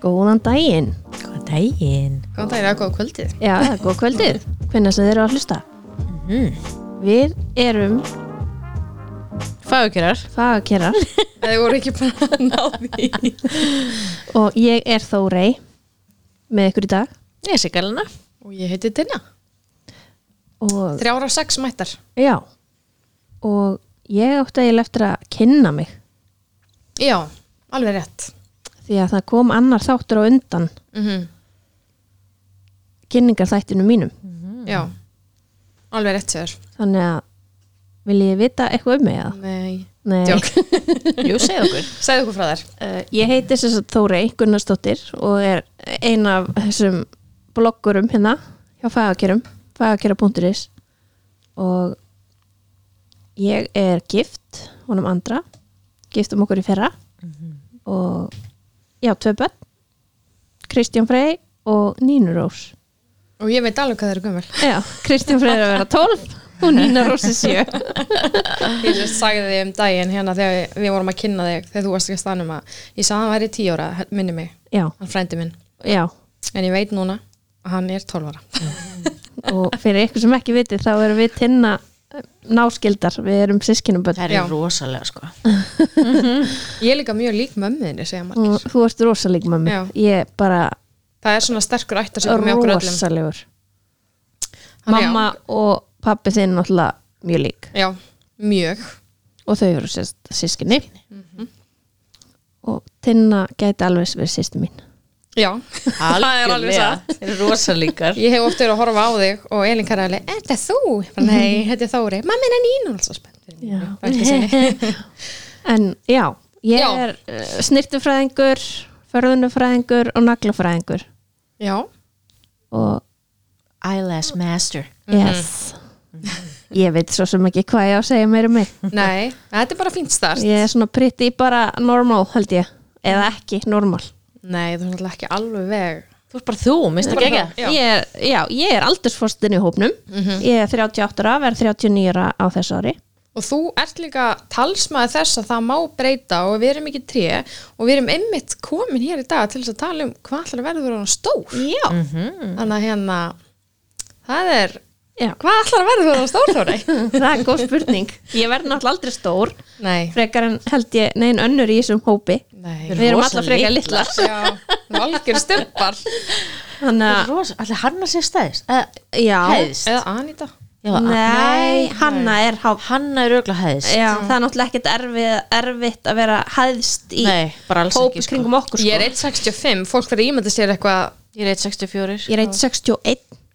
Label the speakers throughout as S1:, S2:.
S1: Góðan daginn
S2: Góðan daginn.
S3: Góðan daginn, eða góða kvöldið.
S1: Já, góð kvöldið Hvenær sem þið eru að hlusta Við erum
S2: Fagurkjörar.
S1: fagakjörar
S3: Eða þið voru ekki bara að ná því.
S1: og ég er Þórei með ykkur í dag
S2: Ég er Sigalina.
S3: Og ég heiti Dinna.
S1: og
S3: Þrjára og sex mættar.
S1: já og ég átti eiginlega eftir að kynna mig
S3: Já, alveg rétt.
S1: því að það kom annar þáttur á undan
S3: Mm
S1: kynningarþættinu mínum
S3: Já, alveg rétt sér.
S1: þannig að vil ég vita eitthvað um mig
S3: Ah.
S1: eða?
S3: Nei.
S1: Nei,
S3: Djók.
S2: Jú, segð okkur.
S3: Segðu okkur frá þær.
S1: uh, ég heiti sem sagt Þórei Gunnarsdóttir og er ein af þessum bloggurum hérna hjá fagakjörum, fagakjöra.is og ég er gift honum andra, giftum okkur í fyrra og já, tvö börn Kristján Frey og Nínu Rós
S3: Og ég veit alveg hvað þær eru gömul.
S1: já, Kristján Frey er að vera 12 og Nína Rós er 7
S3: Ég sem sagði þig um daginn hérna þegar við vorum að kynna þig þegar þú varst ekki að stanum að ég sagði að hann væri tíu ára, minni mig,
S1: já,
S3: hann frændi minn.
S1: já
S3: En ég veit núna að hann er tólf ára.
S1: og fyrir ykkur sem ekki viti þá erum við tinna náskildar, við erum sískinum
S2: Það
S3: Já.
S2: er rosalega sko.
S3: Ég er líka mjög lík mömmuðinni, segja margir.
S1: og þú ert rosalík með
S3: Já.
S1: mig ég er bara
S3: Það er svona sterkur ættarsökum með okkur öllum.
S1: rosalegur
S3: Þannig já.
S1: mamma og pappi þinn náttúrulega mjög lík
S3: Já, mjög.
S1: og þau eru sérst sískinni
S3: Mhm.
S1: og tinna gæti alveg verið sýstu mín
S3: Já, það er alveg satt.
S2: Það er rosalíkar.
S3: Ég hef oft verið að horfa á þig og Elin Karali, er þetta þú? Ég bara, Nei, þetta er Þóri. Mamma minna nýnum alltaf spennt. fyrir mínu
S1: Mhm. Já.
S3: frænku sinni.
S1: en já, ég
S3: Já.
S1: er uh, snirtufræðingur förðunufræðingur og naglafræðingur
S3: Já,
S1: og
S2: Eyelash Master.
S3: Mhm.
S1: yes ég veit svo sem ekki hvað ég á að segja meira um mig
S3: nei, þetta er bara fínt start.
S1: ég er svona pretty bara normal held ég eða ekki normal
S3: Nei, þú er náttúrulega ekki alveg veg.
S2: Þú ert bara Mhm. þú, minnst ekki ekki.
S3: Já.
S1: ég er, já, ég er aldursfórstin í hópnum ég er 38 ára, verð 39 ára á þessu ári
S3: Og þú ert líka talsmaði þess að það má breyta og við erum ekki tré og við erum einmitt komin hér í dag til þess að tala um hvað ætlar að verður hann stór.
S1: já,
S3: Þannig að hérna, það er,
S1: já.
S3: hvað ætlar að verður hann stór Þóri?
S1: það er góð spurning ég verð náttúrulega aldrei stór
S3: nei,
S1: frekar en held ég nein önnur í þessum hópi
S3: nei.
S1: við erum
S2: Rosa
S1: alla frekar litlar
S2: litlar.
S3: Já, valgjör styrpar.
S1: þannig
S2: Það
S1: að,
S2: er rosalega. Allir hann að sé stæðist. Eh,
S1: já
S2: Hæðist.
S3: Eða Anita.
S2: Já,
S1: nei, hanna er há
S2: Hanna er auðvitað hæðist.
S1: já, það er náttúrulega ekkert erfið, erfitt að vera hæðst í
S2: Nei, bara alls
S1: hópi
S2: ekki sko.
S1: kringum okkur sko.
S3: Ég er 1.65, fólk verður ímyndið sér eitthvað
S2: Ég er 164.
S1: ég er 1,61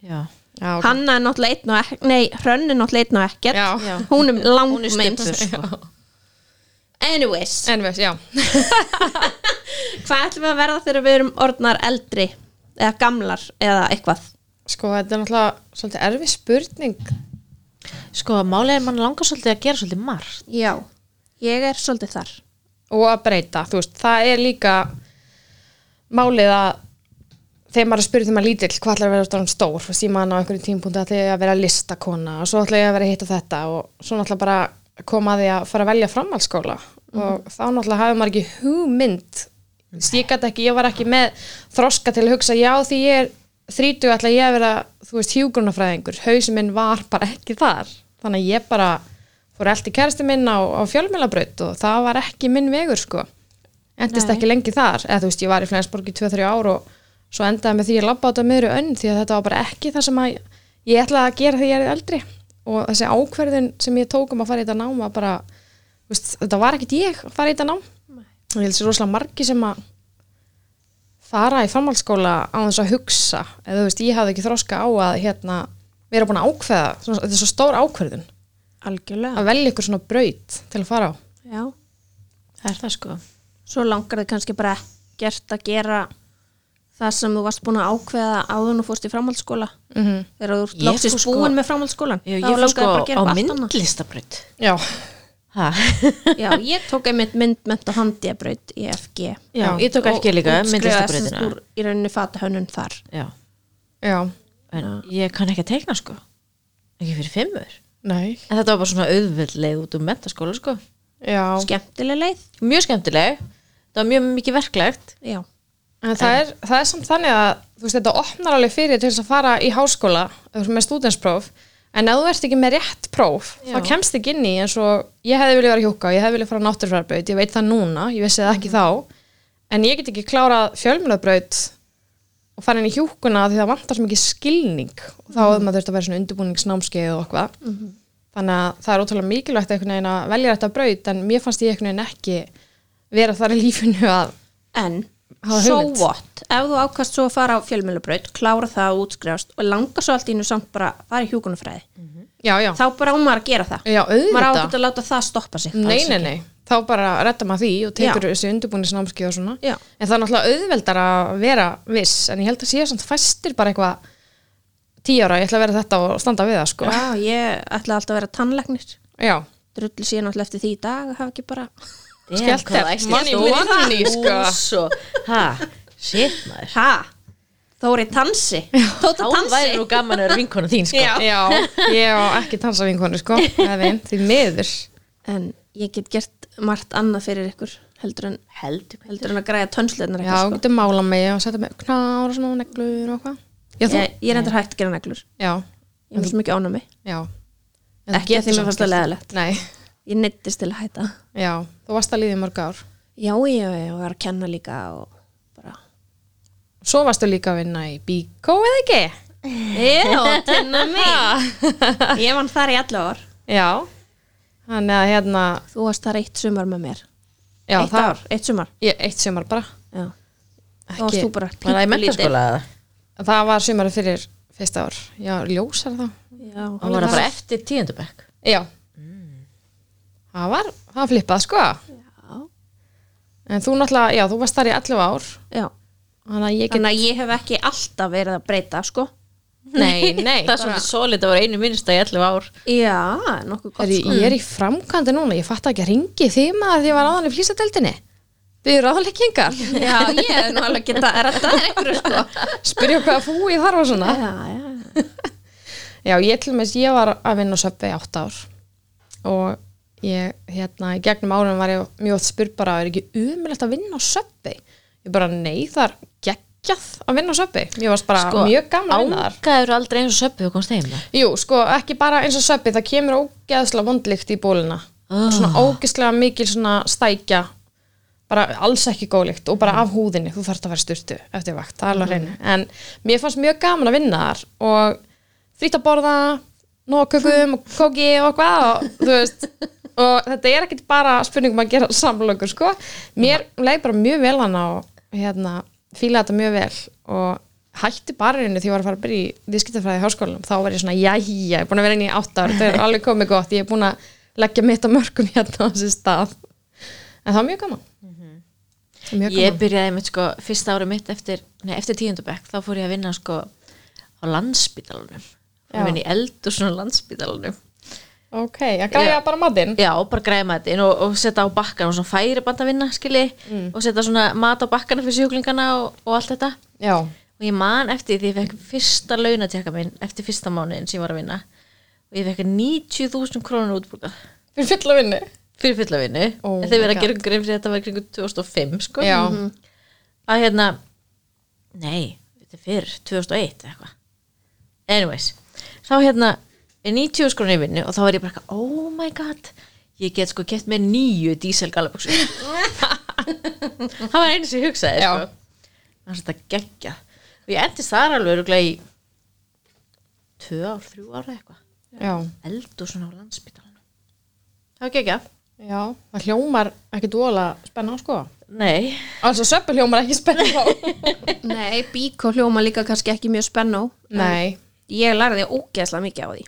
S2: Já.
S3: Já, ok.
S1: Hanna er náttúrulega einn og ekkert Nei, Hrönn er náttúrulega einn og ekkert
S3: Já.
S2: Já.
S1: Hún er
S2: Hún er stuttur
S1: langmeins
S2: sko.
S1: Anyways,
S3: Anyways, já.
S1: hvað ætlum við að verða þegar við erum orðnar eldri eða gamlar eða eitthvað
S3: Sko, þetta er náttúrulega svolítið erfið spurning.
S2: Sko, málega er mann langar svolítið að gera svolítið margt.
S1: Já, ég er svolítið þar
S3: Og að breyta, þú veist, það er líka málið að þegar maður er spurðið þegar maður er lítill, hvað ætlar að vera stóran stór? Svo síma hann á einhverjum tímpúndi að þið að vera listakona og svo ætla ég að vera að hitta þetta og svo náttúrulega bara að koma að því að fara að velja framhaldsskóla og þá náttúrulega hafði maður ekki hugmynd Þú veist, ég gæti ekki, ég var ekki með þroska til að hugsa, já því ég er 30 ætla ég að vera, þú veist, hjúgrunafræðingur hausin minn var bara ekki þar þannig að ég bara fór allt í kæristi minn á, á fjölmjölabraut og það var ekki minn vegur sko endist ekki lengi þar, eða þú veist, ég var í Flensborg í 2-3 ár og svo endaði með því að labba á þetta meðri önn því að þetta var bara ekki það sem að ég ætlaði að gera þegar ég er eldri og þessi ákverðin sem ég tók um að fara í þetta nám var bara, þú veist, þetta var ekkit ég að fara í þetta nám og ég held sér rosalega margi sem að fara í framhaldsskóla á þess að hugsa eða þú veist, ég hafði ekki þroska á að hérna, við erum búin að ákveða svona, þetta er svo stór ákveðun
S1: Algjörlega
S3: að velja ykkur svona braut til að fara á
S1: Já,
S2: Það er það sko.
S1: svo langar þið kannski bara gert að gera það sem þú varst búin að ákveða áðun og fórst í framhaldsskóla
S3: mm -hmm.
S1: þegar þú ert
S2: Ég
S1: loksist
S2: fór sko-
S1: búin með framhaldsskólan þá
S2: Já, ég fór
S1: langaði
S2: sko
S1: bara að gera
S2: á
S1: eitthvað allt annað.
S2: myndlistabraut.
S3: Já,
S2: Ha?
S1: Já, ég tók einmitt myndmönt og handiabraut í FG
S2: Já,
S3: Já.
S2: ég tók ekki líka myndlistabrautina.
S1: úr í rauninni fatahönnun þar
S2: Já,
S3: já,
S2: en ég kann ekki að teikna sko. Ekki fyrir fimmur.
S3: nei
S2: En þetta var bara svona auðvöld leið út um mentaskóla sko.
S3: Já,
S1: skemmtileg leið
S2: Mjög skemmtileg. Það var mjög mikið verklegt.
S1: já,
S3: En það er, það er samt þannig að þú veist, þetta opnar alveg fyrir til þess að fara í háskóla ef þú ert með stúdenspróf en ef þú ert ekki með rétt próf
S2: Já.
S3: þá kemst ekki inn í eins og ég hefði viljað vera hjóka, ég hefði viljað fara náttúrfærbraut ég veit það núna, ég vissi það ekki þá en ég get ekki klárað fjölmjölabraut og fara inn í hjúkuna því það vantar svo mikið skilning og þá hefði maður þurft að vera svona undirbúningsnámskeið og okkur þannig að það er ótrúlega mikilvægt einhvern veginn að velja þetta braut en mér fannst ég einhvern veginn ekki vera þar í lífinu að
S1: en
S3: Hafa
S1: so
S3: hugmynd.
S1: what ef þú ákast svo að fara á fjölmjölubraut klára það og útskrifast og langa svo allt í nú samt bara að fara í hjúkunufræði
S3: já, já,
S1: þá bara á maður að gera það
S3: já
S1: maður á
S3: Mm. auðvitað
S1: ekki að láta það stoppa sig
S3: Nei,
S1: alls
S3: nei,
S1: ekki.
S3: nei, þá bara redda maður því og tekur
S1: Já.
S3: þessi undirbúinisnámski og svona
S1: Já.
S3: en það er náttúrulega auðveldar að vera viss en ég held að séu samt fæstir bara eitthvað tíu ára, ég ætla að vera þetta og standa við það sko
S1: já, ég ætla alltaf að vera tannlegnir
S3: Já,
S1: drullu síðan alltaf eftir því í dag að hafa ekki bara
S3: Skellt
S2: hvað
S3: þér.
S2: æxlist
S3: Manni
S2: þú
S3: minn í það.
S2: inn í, sko. og- Ha, shit maður
S1: ha, Þóri tansi Tóta
S2: Þá væri
S1: tansi
S2: nú gaman að vera vinkona þín sko.
S1: Já.
S3: já, ég á ekki tansa vinkonu sko eða vin, því miður
S1: en ég get gert margt annað fyrir ykkur heldur en,
S2: Heldur betur.
S1: heldur en að græja tönslunar
S3: Já,
S1: sko.
S3: getur mála mig og setja mig knár og svona og neglur og hvað Já, þú,
S1: ég, ég er endur hægt að gera neglur
S3: já,
S1: ég er svo mikið ánæmi
S3: já En þú
S1: ekki að
S3: getur
S1: því mér
S3: samt
S1: fannst það
S3: gert
S1: leðilegt
S3: Nei,
S1: ég neittist til að hætta
S3: já, þú varst að líði mörg ár
S1: já, já, já, og var að kenna líka og bara
S3: Svo varstu líka að vinna í bíkó eða ekki?
S1: já, tenna mig ég vann þar í allu ár
S3: Já, þannig að hérna
S1: þú varst þar eitt sumar með mér
S3: já,
S1: eitt
S3: það,
S1: ár, eitt sumar
S3: Ég, eitt sumar bara
S1: já. þá
S3: Ekki-
S1: varst þú bara
S2: Var það í mentaskóla eða?
S3: Það var sumarið fyrir fyrsta ár Já, ljósar þá
S1: já,
S2: Það var það bara eftir tíundabæk
S3: Já
S1: Mm.
S3: Það var, það flippað sko
S1: já,
S3: En þú náttúrulega, já, þú varst þar í 11 ár
S1: já
S3: Þannig að ég get
S1: þannig að ég hef ekki alltaf verið að breyta sko
S3: Nei, nei
S2: Það er
S3: bara-
S2: svona solid að vera einu minnsta í 11 ár
S1: já, nokkuð gott
S3: Heri,
S1: sko
S3: Ég er í framkvæmdi núna, ég fatt ekki að ringi þig maður því ég var áðan í flýsadeldinni Við erum ráðleggingar
S1: já, ég hef nú alveg geta að rætta þér einhverju sko
S3: Spyrja hvað fúi þar var svona
S1: já, já,
S3: Já, ég til með ég var að vinna á söpvi í átta ár og ég, hérna, í gegnum árum var ég mjög oft spurð bara, er ekki umilegt að vinna á söpvi? Ég bara, nei, það er geggjað að vinna á söpvi. Ég varst bara
S2: Sko,
S3: Sko, mjög gamla að vinna þar.
S2: Ángaður aldrei eins og söppi og komst heim það
S3: Jú, sko, ekki bara eins og söpvi, það kemur ógeðslega vondlikt í bólina.
S2: Ah.
S3: Svona ógeðslega mikil svona stækja, bara alls ekki góðlikt og bara af húðinni, þú þarft að vera styrtu eftir vakt, það er alveg hreinu. En mér fannst mjög gaman að vinna þar og frýtt að borða, nóg af kökum og kóki og hvað og þú veist, og þetta er ekkit bara spurningum að gera samlökur, sko. Mér leið bara mjög vel hann á, hérna, fíla þetta mjög vel og hætti barinu því ég var að fara að byrja í viðskiptafræði í háskólanum, þá var ég svona, jæja, ég er búin að vera inn í átt ár, þetta er alveg komið gott, ég er búin að leggja mitt á mörgum hérna á þessi stað. En það var mjög gaman. Mjög gaman.
S2: Ég byrjaði mitt sko, fyrsta ári mitt eftir, nei, eftir tíundabæk Þá fór ég að vinna sko á landsbítalunum
S3: Já.
S2: Ég vinna í eldursunum landsbítalunum
S3: Ok, að græja bara matinn.
S2: Já, og bara græða matinn og, og setja á bakkan og svona færi band að vinna, skilji og setja svona mat á bakkana fyrir sjúklingana og, og allt þetta
S3: Já.
S2: og ég man eftir því ég fekk fyrsta launatjaka minn eftir fyrsta mánuðin sem ég var að vinna og ég fekk 90.000 krónur útbúkað
S3: Fyrir fulla vinnu.
S2: fyrir fullavinnu
S3: Oh
S2: oh þegar við
S3: my
S2: erum að gera grein fyrir þetta var kringu 2005 sko
S3: Já. Mhm.
S2: að hérna nei, þetta er fyrr, 2001 eða eitthvað anyways, þá hérna er 90 skrona í vinnu og þá er ég bara eitthvað, oh my god ég get sko gett með nýju diesel galabuksu það var eins og ég hugsaði
S3: Já.
S2: sko. það var þetta geggja og ég endist þar alveg örugglega í tvö ár, þrjú ár eða eitthvað
S3: Já.
S2: eldur svona á landsbytalanum það var geggja
S3: Já. Það hljómar ekki dóla spenna á sko.
S2: nei,
S3: Alveg söppu hljómar ekki spenna á.
S1: nei, bík og hljóma líka kannski ekki mjög spennó
S3: Nei.
S1: ég lærði ógeðslega mikið á því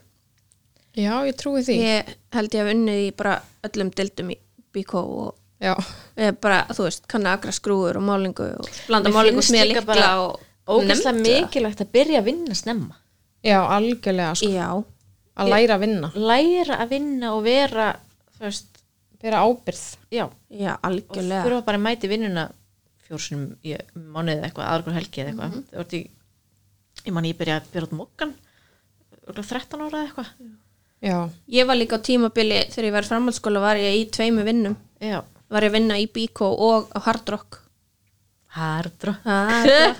S3: Já, ég trúi því.
S1: ég held ég að unnið í bara öllum dildum í bíkó og
S3: Já.
S1: eh, bara, þú veist, kannu agra skrúður og málingu og blanda
S2: Mér
S1: málingu
S2: finnst
S1: smíða
S2: líka
S1: líkla
S2: bara
S1: og
S2: ógeðslega
S1: Nefndu það.
S2: mikilvægt að byrja að vinna snemma
S3: Já, algjörlega sko.
S1: já,
S3: Að læra að vinna.
S2: læra að vinna og vera þú veist,
S3: Bera ábyrð.
S2: já,
S1: já,
S2: og
S1: algjörlega
S2: þurfa bara að mæti vinnuna fjórsunum í mánuðið eitthvað, aðra hver helgi eða eitthvað
S1: Mhm.
S2: mm -hmm. í, ég man ég byrja að byrja út mokkan örugglega 13 ára eða eitthvað
S3: Já.
S1: ég var líka á tímabili þegar ég var í framhaldsskóla var ég í tveimu vinnum
S2: já,
S1: var ég að vinna í bíkó og á hardrock
S2: Hardró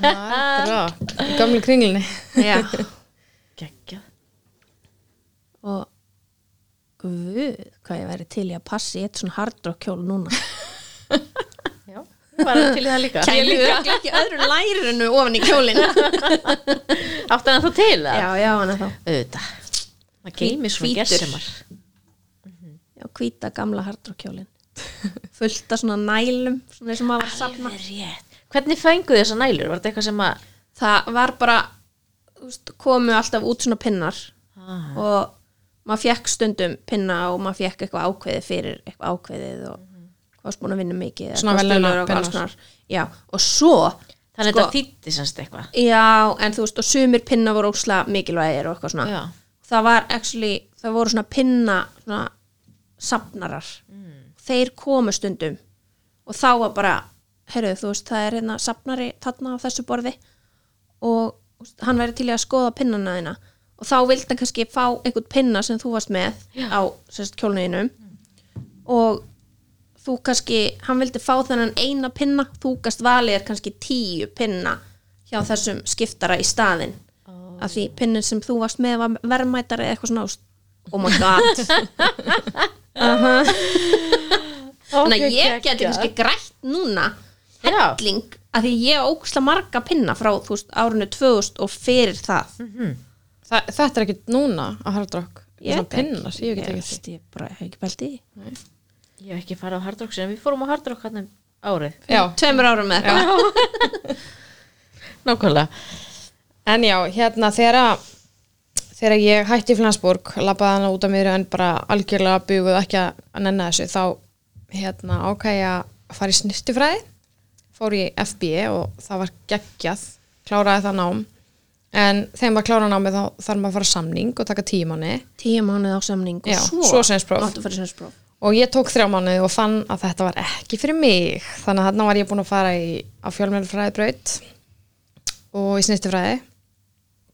S3: Hardrock. Í Gömlu kringlinni.
S1: Já.
S2: Gekkja
S1: og guð, hvað ég væri til í að passa í eitt svona hardrock kjól núna
S2: Já, ég var til í það líka
S1: Kæmi örugglega ekki öðru lærinu ofan í kjólin
S2: Áttan hann þá til það?
S1: Já, já, hann þá
S2: Auðvitað Það geymir svona
S1: Hvítur. Mhm.
S2: gersemar
S1: Já, hvíta gamla hardrock kjólin fullt af svona nælum svona sem maður
S2: Ah,
S1: var að safna
S2: Alveg rétt Hvernig fenguð þessar nælur? Var þetta eitthvað sem að
S1: það var bara þú veist, komu alltaf út svona pinnar
S2: ah.
S1: og maður fekk stundum pinna og maður fekk eitthvað ákveðið fyrir eitthvað ákveðið og
S2: Mhm.
S1: hvað varst búin að vinna mikið eða
S3: Svona
S1: hvað varst
S3: verðlauna
S1: duglegur og hvað
S3: pinnar.
S1: alls konar. Já, og svo
S2: Þannig
S1: sko-
S2: þetta þýtti semst eitthvað
S1: Já, en þú veist, og sumir pinna voru ósla mikilvægir og eitthvað svona
S2: Já.
S1: það var actually, það voru svona pinna svona safnarar þeir komu stundum og þá var bara, heyrðu þú veist það er hérna safnari þarna á þessu borði og þú veist, hann væri til í að skoða pinnana þina og þá vildi hann kannski fá einhvern pinna sem þú varst með Já. á sérst kjólnuðinum og þú kannski, hann vildi fá þennan eina pinna, þú gast valið er kannski tíu pinna hjá þessum skiptara í staðinn
S2: Ó.
S1: af því pinnin sem þú varst með var verðmætari eða eitthvað svona ást oh my god þannig að ég geti kannski grætt núna
S2: Já.
S1: helling, af því ég á óksla marga pinna frá þú veist, árinu 2000 og fyrir það
S3: Hm, Þa, þetta er ekkert núna á Hardrock.
S1: Ég veit
S3: Svona
S1: ekki.
S3: pinnar, ég hef ekki tekið því.
S1: veist, ég bara hef ekki pælt í því.
S2: Ég hef ekki farið á hardrock sinni Við fórum á hardrock hann um árið
S3: Já,
S1: tveimur árum með eitthvað
S2: Nákvæmlega
S3: en já, hérna þegar að- þegar ég hætti í Flensborg, labbaði hana út af mér en bara algjörlega bygguð ekki að nenna þessu, þá hérna ákæði ég að fara í snirtifræði, fór í FBE og það var geggjað, kláraði það nám, en þegar maður klára námið þá þarf maður að fara á samning og taka tímanni
S1: tíu mánuð á samning og
S3: Já,
S1: svo,
S3: svo sveinspróf.
S1: máttu fara í sveinspróf.
S3: og ég tók þrjá mánuði og fann að þetta var ekki fyrir mig þannig að þarna var ég búin að fara í, á fjölmjölfræðibraut og í snýttifræði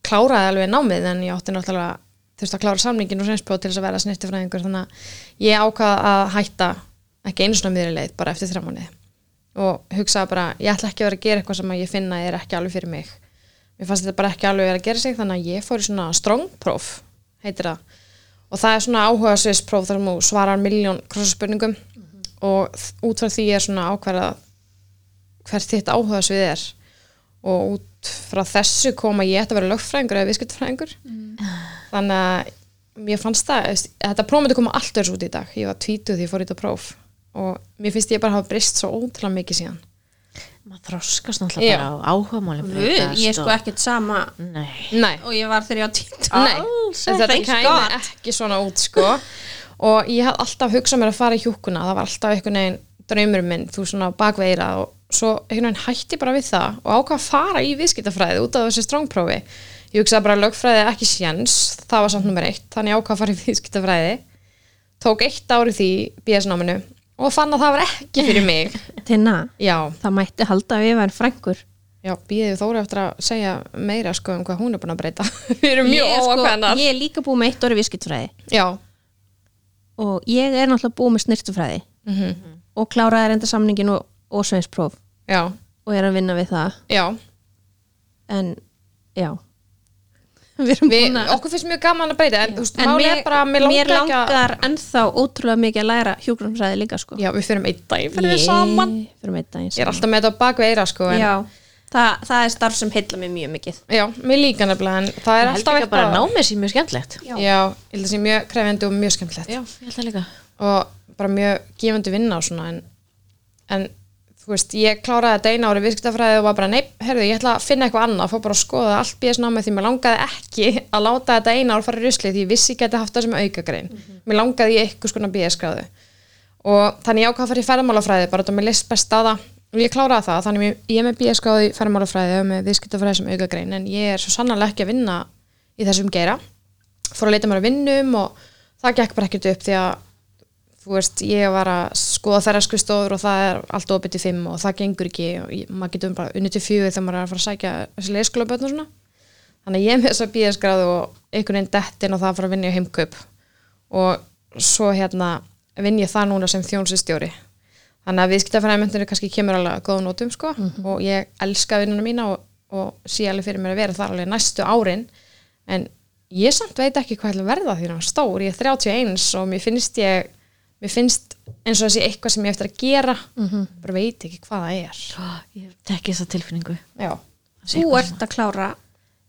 S3: kláraði alveg námið en ég átti náttúrulega þurfti að klára samningin og seinspróf til þess að vera snýttifræðingur þannig að ég ákvað að hætta ekki einu svona miðri leið bara eftir þrjá mánuði og hugsaði bara ég ætla ekki að vera að gera eitthvað sem að ég finna er ekki alveg fyrir mig mér fannst þetta bara ekki alveg vera að gera sig þannig að ég fór í svona strongpróf heitir það og það er svona áhuga sviðspróf þar sem þú svarar miljón krossaspurningum og þ- út frá því er svona ákverða hvert þitt áhuga svið er og út frá þessu kom að ég ætti að vera lögfræðingur eða viðskiptfræðingur þannig að mér fannst það, veist, þetta próf myndi koma allt öðru út í dag, ég var tvítuð því ég fór í þetta próf og mér finnst ég bara hafa brist svo ótrúlega mikið síðan
S2: Maður þroskast náttúrulega bara á áhugamálum
S1: Guð, ég er sko ekkert sama
S2: Nei
S3: Nei,
S1: og ég var þegar ég á tínt
S3: Nei,
S2: Alls
S3: þetta
S1: ekki.
S3: kæmi ekki svona út sko og ég hafði alltaf hugsað mér að fara í hjúkuna það var alltaf einhvern veginn draumur minn þú svona bakveira og svo einhvern veginn hætti bara við það og ákvað að fara í viðskiptafræði út af þessu strángprófi ég hugsaði bara lögfræði er ekki sjens það var samt nummer eitt, þannig ég ákvað að fara í viðskiptafræði tók eitt ár í því BS-náminu og fann að það var ekki fyrir mig
S1: Tinna,
S3: já,
S1: það mætti halda að ég væri frængur
S3: já, býðið Þóra eftir að segja meira sko um hvað hún er búin að breyta við erum
S1: ég,
S3: mjög
S1: er sko,
S3: óakvennar
S1: ég er líka búið með eitt orði viðskiptfræði
S3: já,
S1: og ég er náttúrulega búið með snirtufræði -hmm. og kláraði reynda samningin og, og sveinspróf
S3: já,
S1: og er að vinna við það
S3: já
S1: en já við erum
S3: Vi,
S1: búin að
S3: okkur finnst mjög gaman að breyta en, þú veist,
S1: en
S3: máli
S1: mér,
S3: er bara að mér
S1: mér
S3: langar ekki að
S1: langar ennþá ótrúlega mikið að læra hjúgrunfræði líka sko
S3: já, við fyrir einn dag fyrir við saman
S1: fyrir með daginn
S3: ég er alltaf með þetta á bakvið eira sko, en,
S1: já, það, það er starf sem heilla mig mjög mikið
S3: já, mér líka nefnilega en það
S2: Það
S3: er
S2: er
S3: alltaf
S2: líka bara námið sér mjög skemmtlegt
S1: Já.
S3: já, ég held að sé mjög krefjandi og mjög skemmtilegt
S2: Já, ég held það líka
S3: og bara mjög gefandi vinna og svona en, en þú veist, ég kláraði þetta eina ári viðskiptafræði og var bara, nei, herðu, ég ætla að finna eitthvað annað fór bara að skoða allt BS námið því mér langaði ekki að láta þetta eina ár fara í rusli því ég vissi ekki að þetta haft það sem aukagrein mér langaði ég eitthvað skona BS gráðu og þannig ég ákvað að fara í ferðmálafræði bara þetta mér leist best að það og ég kláraði það, þannig ég, ég er með BS gráðu í ferðmálafræði og með viðskiptafræði sem aukagrein en ég er svo sannarlega ekki að vinna í þessum geira fór að leita mér að vinnum og það gekk bara ekkert upp því að þú veist, ég var að skoða þærra skrifstofur og það er allt opið til fimm og það gengur ekki og ég, maður getur um bara unni til fjögur þegar maður er að fara að sækja þessi leyskulabötn og svona þannig að ég er með þess að BS gráðu og einhvern veginn dettin og það að fara að vinna í heimkaup og svo hérna vinn ég það núna sem þjónsustjóri þannig að viðskiptafræðimöndinu kannski kemur alveg að góða nótum sko og ég elska vinnuna mína og, og sé alveg fyrir mér að vera þar alveg næstu árin en ég samt veit ekki hvað ætla að verða því að stór, ég er 31 og mér finnst ég mér finnst eins og þessi eitthvað sem ég á eftir að gera bara veit ekki hvað það er
S2: Ég tekki þessa tilfinningu
S3: Já,
S1: Þú ert að klára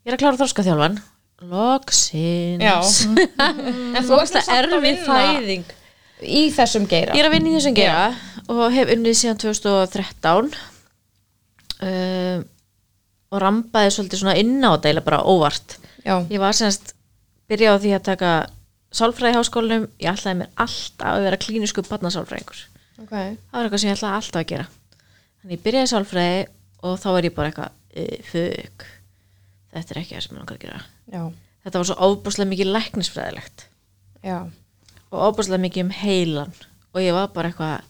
S2: Ég er að klára þorskaþjálfan
S3: Já.
S2: Loksins
S3: en Mhm. þú ert
S2: Það er við fæðing
S3: í þessum geira
S2: Ég er að vinna í þessum gera og hef unnið síðan 2013 um, og rambaði svolítið svona inn á þetta eiginlega bara óvart
S3: Já,
S2: Ég var semst byrjaði á því að taka sálfræði í háskólanum ég ætlaði mér alltaf að vera klínisku barnasálfræðingur
S3: ok
S2: það var eitthvað sem ég ætlaði alltaf að gera þannig ég byrjaði í sálfræði og þá var ég bara eitthvað fug, þetta er ekki það sem ég langar að gera
S3: Já,
S2: þetta var svo ofbúslega mikið læknisfræðilegt
S3: já,
S2: og ofbúslega mikið um heilan og ég var bara eitthvað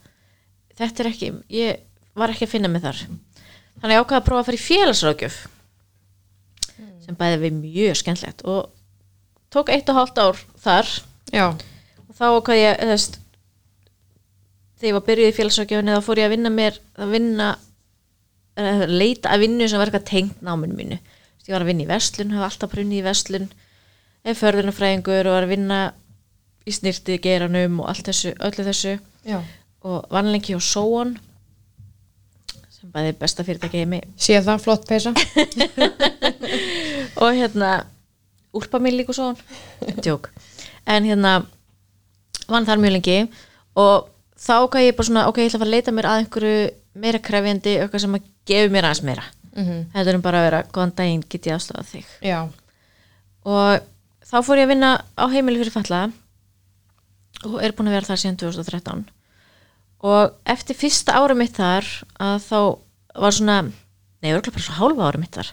S2: þetta er ekki, ég var ekki að finna mig þar þannig ég ákvaði að prófa að fara í félagsráðgjöf sem bæði við mjög skemmtlegt og tók eitt og hálft ár þar
S3: já
S2: og þá ákvað ég þess, þegar ég var byrjuð í félagsrákjöfunni þá fór ég að vinna mér að vinna eh, leita að vinnu sem var eitthvað tengt náminu mínu Þess, ég var að vinna í verslun, hafði alltaf prunnið í verslun eða förðunafræðingur og var að vinna í snirtið geranum og allt þessu, öllu þessu
S3: Já,
S2: og vannlengi og sóan sem bæði besta fyrirtæki heimi
S3: sé það flott peysa
S2: og hérna úlpa mín líka svo tjók, en hérna vann þar mjög lengi og þá gæði ég bara svona, ok, ég ætla að fara að leita mér að einhverju meira krefjandi, eitthvað sem að gefi mér aðeins meira mm -hmm. heldur en bara að vera, góðan daginn, get ég aðstofa þig
S3: Já,
S2: og þá fór ég að vinna á heimili fyrir fatlaða og er búin að vera þar síðan 2013 og eftir fyrsta ára mitt þar að þá var svona nei, örgulega bara svo hálfa ára mitt þar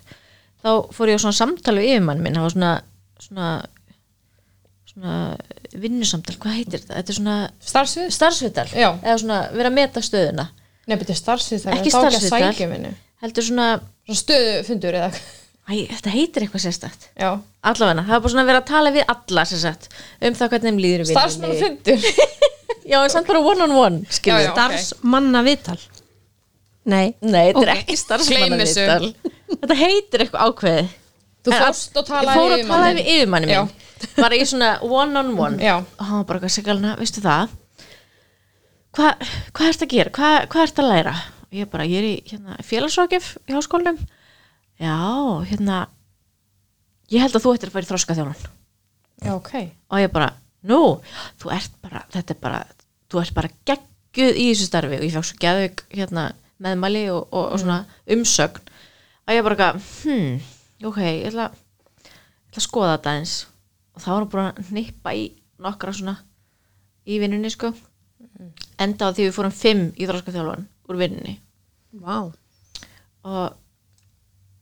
S2: þá fór ég á svona samtal við yfirmann minn það var svona svona, svona vinnusamtal, hvað heitir þetta? Þetta er svona
S3: starfsvið
S2: starfsvital
S3: Já.
S2: eða svona vera að meta stöðuna
S3: Nei, betur starfsvið það
S2: Ekki
S3: þá að
S2: starfsviðtal.
S3: sækja vinnu.
S2: heldur svona,
S3: Svo stöðufundur eða
S2: æ, þetta heitir eitthvað sérstætt
S3: Já,
S2: allavegna, það er bara svona að vera að tala við alla sem sagt, um það hvernig þeim líður í vinnunni.
S3: starfsmannafundur
S2: já, en samt bara one on one skilur
S3: Já, já.
S2: við.
S1: starfsmanna viðtal Nei,
S2: nei, þetta er
S3: Ok.
S2: ekki
S3: Gleym þessu.
S2: starfsmannavital þetta heitir eitthvað ákveðið
S3: Þú
S2: En
S3: fórst
S2: að-
S3: og talaði um
S2: ég fór
S3: við
S2: að tala við
S3: manninn.
S2: yfirmanni
S3: Já.
S2: minn bara í svona one on one
S3: Já.
S2: og hann var bara eitthvað segalina, veistu það Hva- hvað ertu að gera, hvað hva ertu að læra og ég bara, ég er í hérna, félagsrákjöf í háskólanum já, hérna ég held að þú ættir að fara í þroska
S3: Já, ok
S2: og ég bara, nú, þú ert bara þetta er bara, þú ert bara gegguð í þessu starfi og ég fæk svo geðvik hérna, meðmæli og, og, og svona umsögn að ég bara eitthvað, hmm, ok, ég ætla, ég ætla að skoða þetta eins og þá var hún búin að hnippa í nokkra svona í vinnunni sko enda á því við fórum fimm í þróskaþjálfan úr vinnunni
S1: vá
S2: og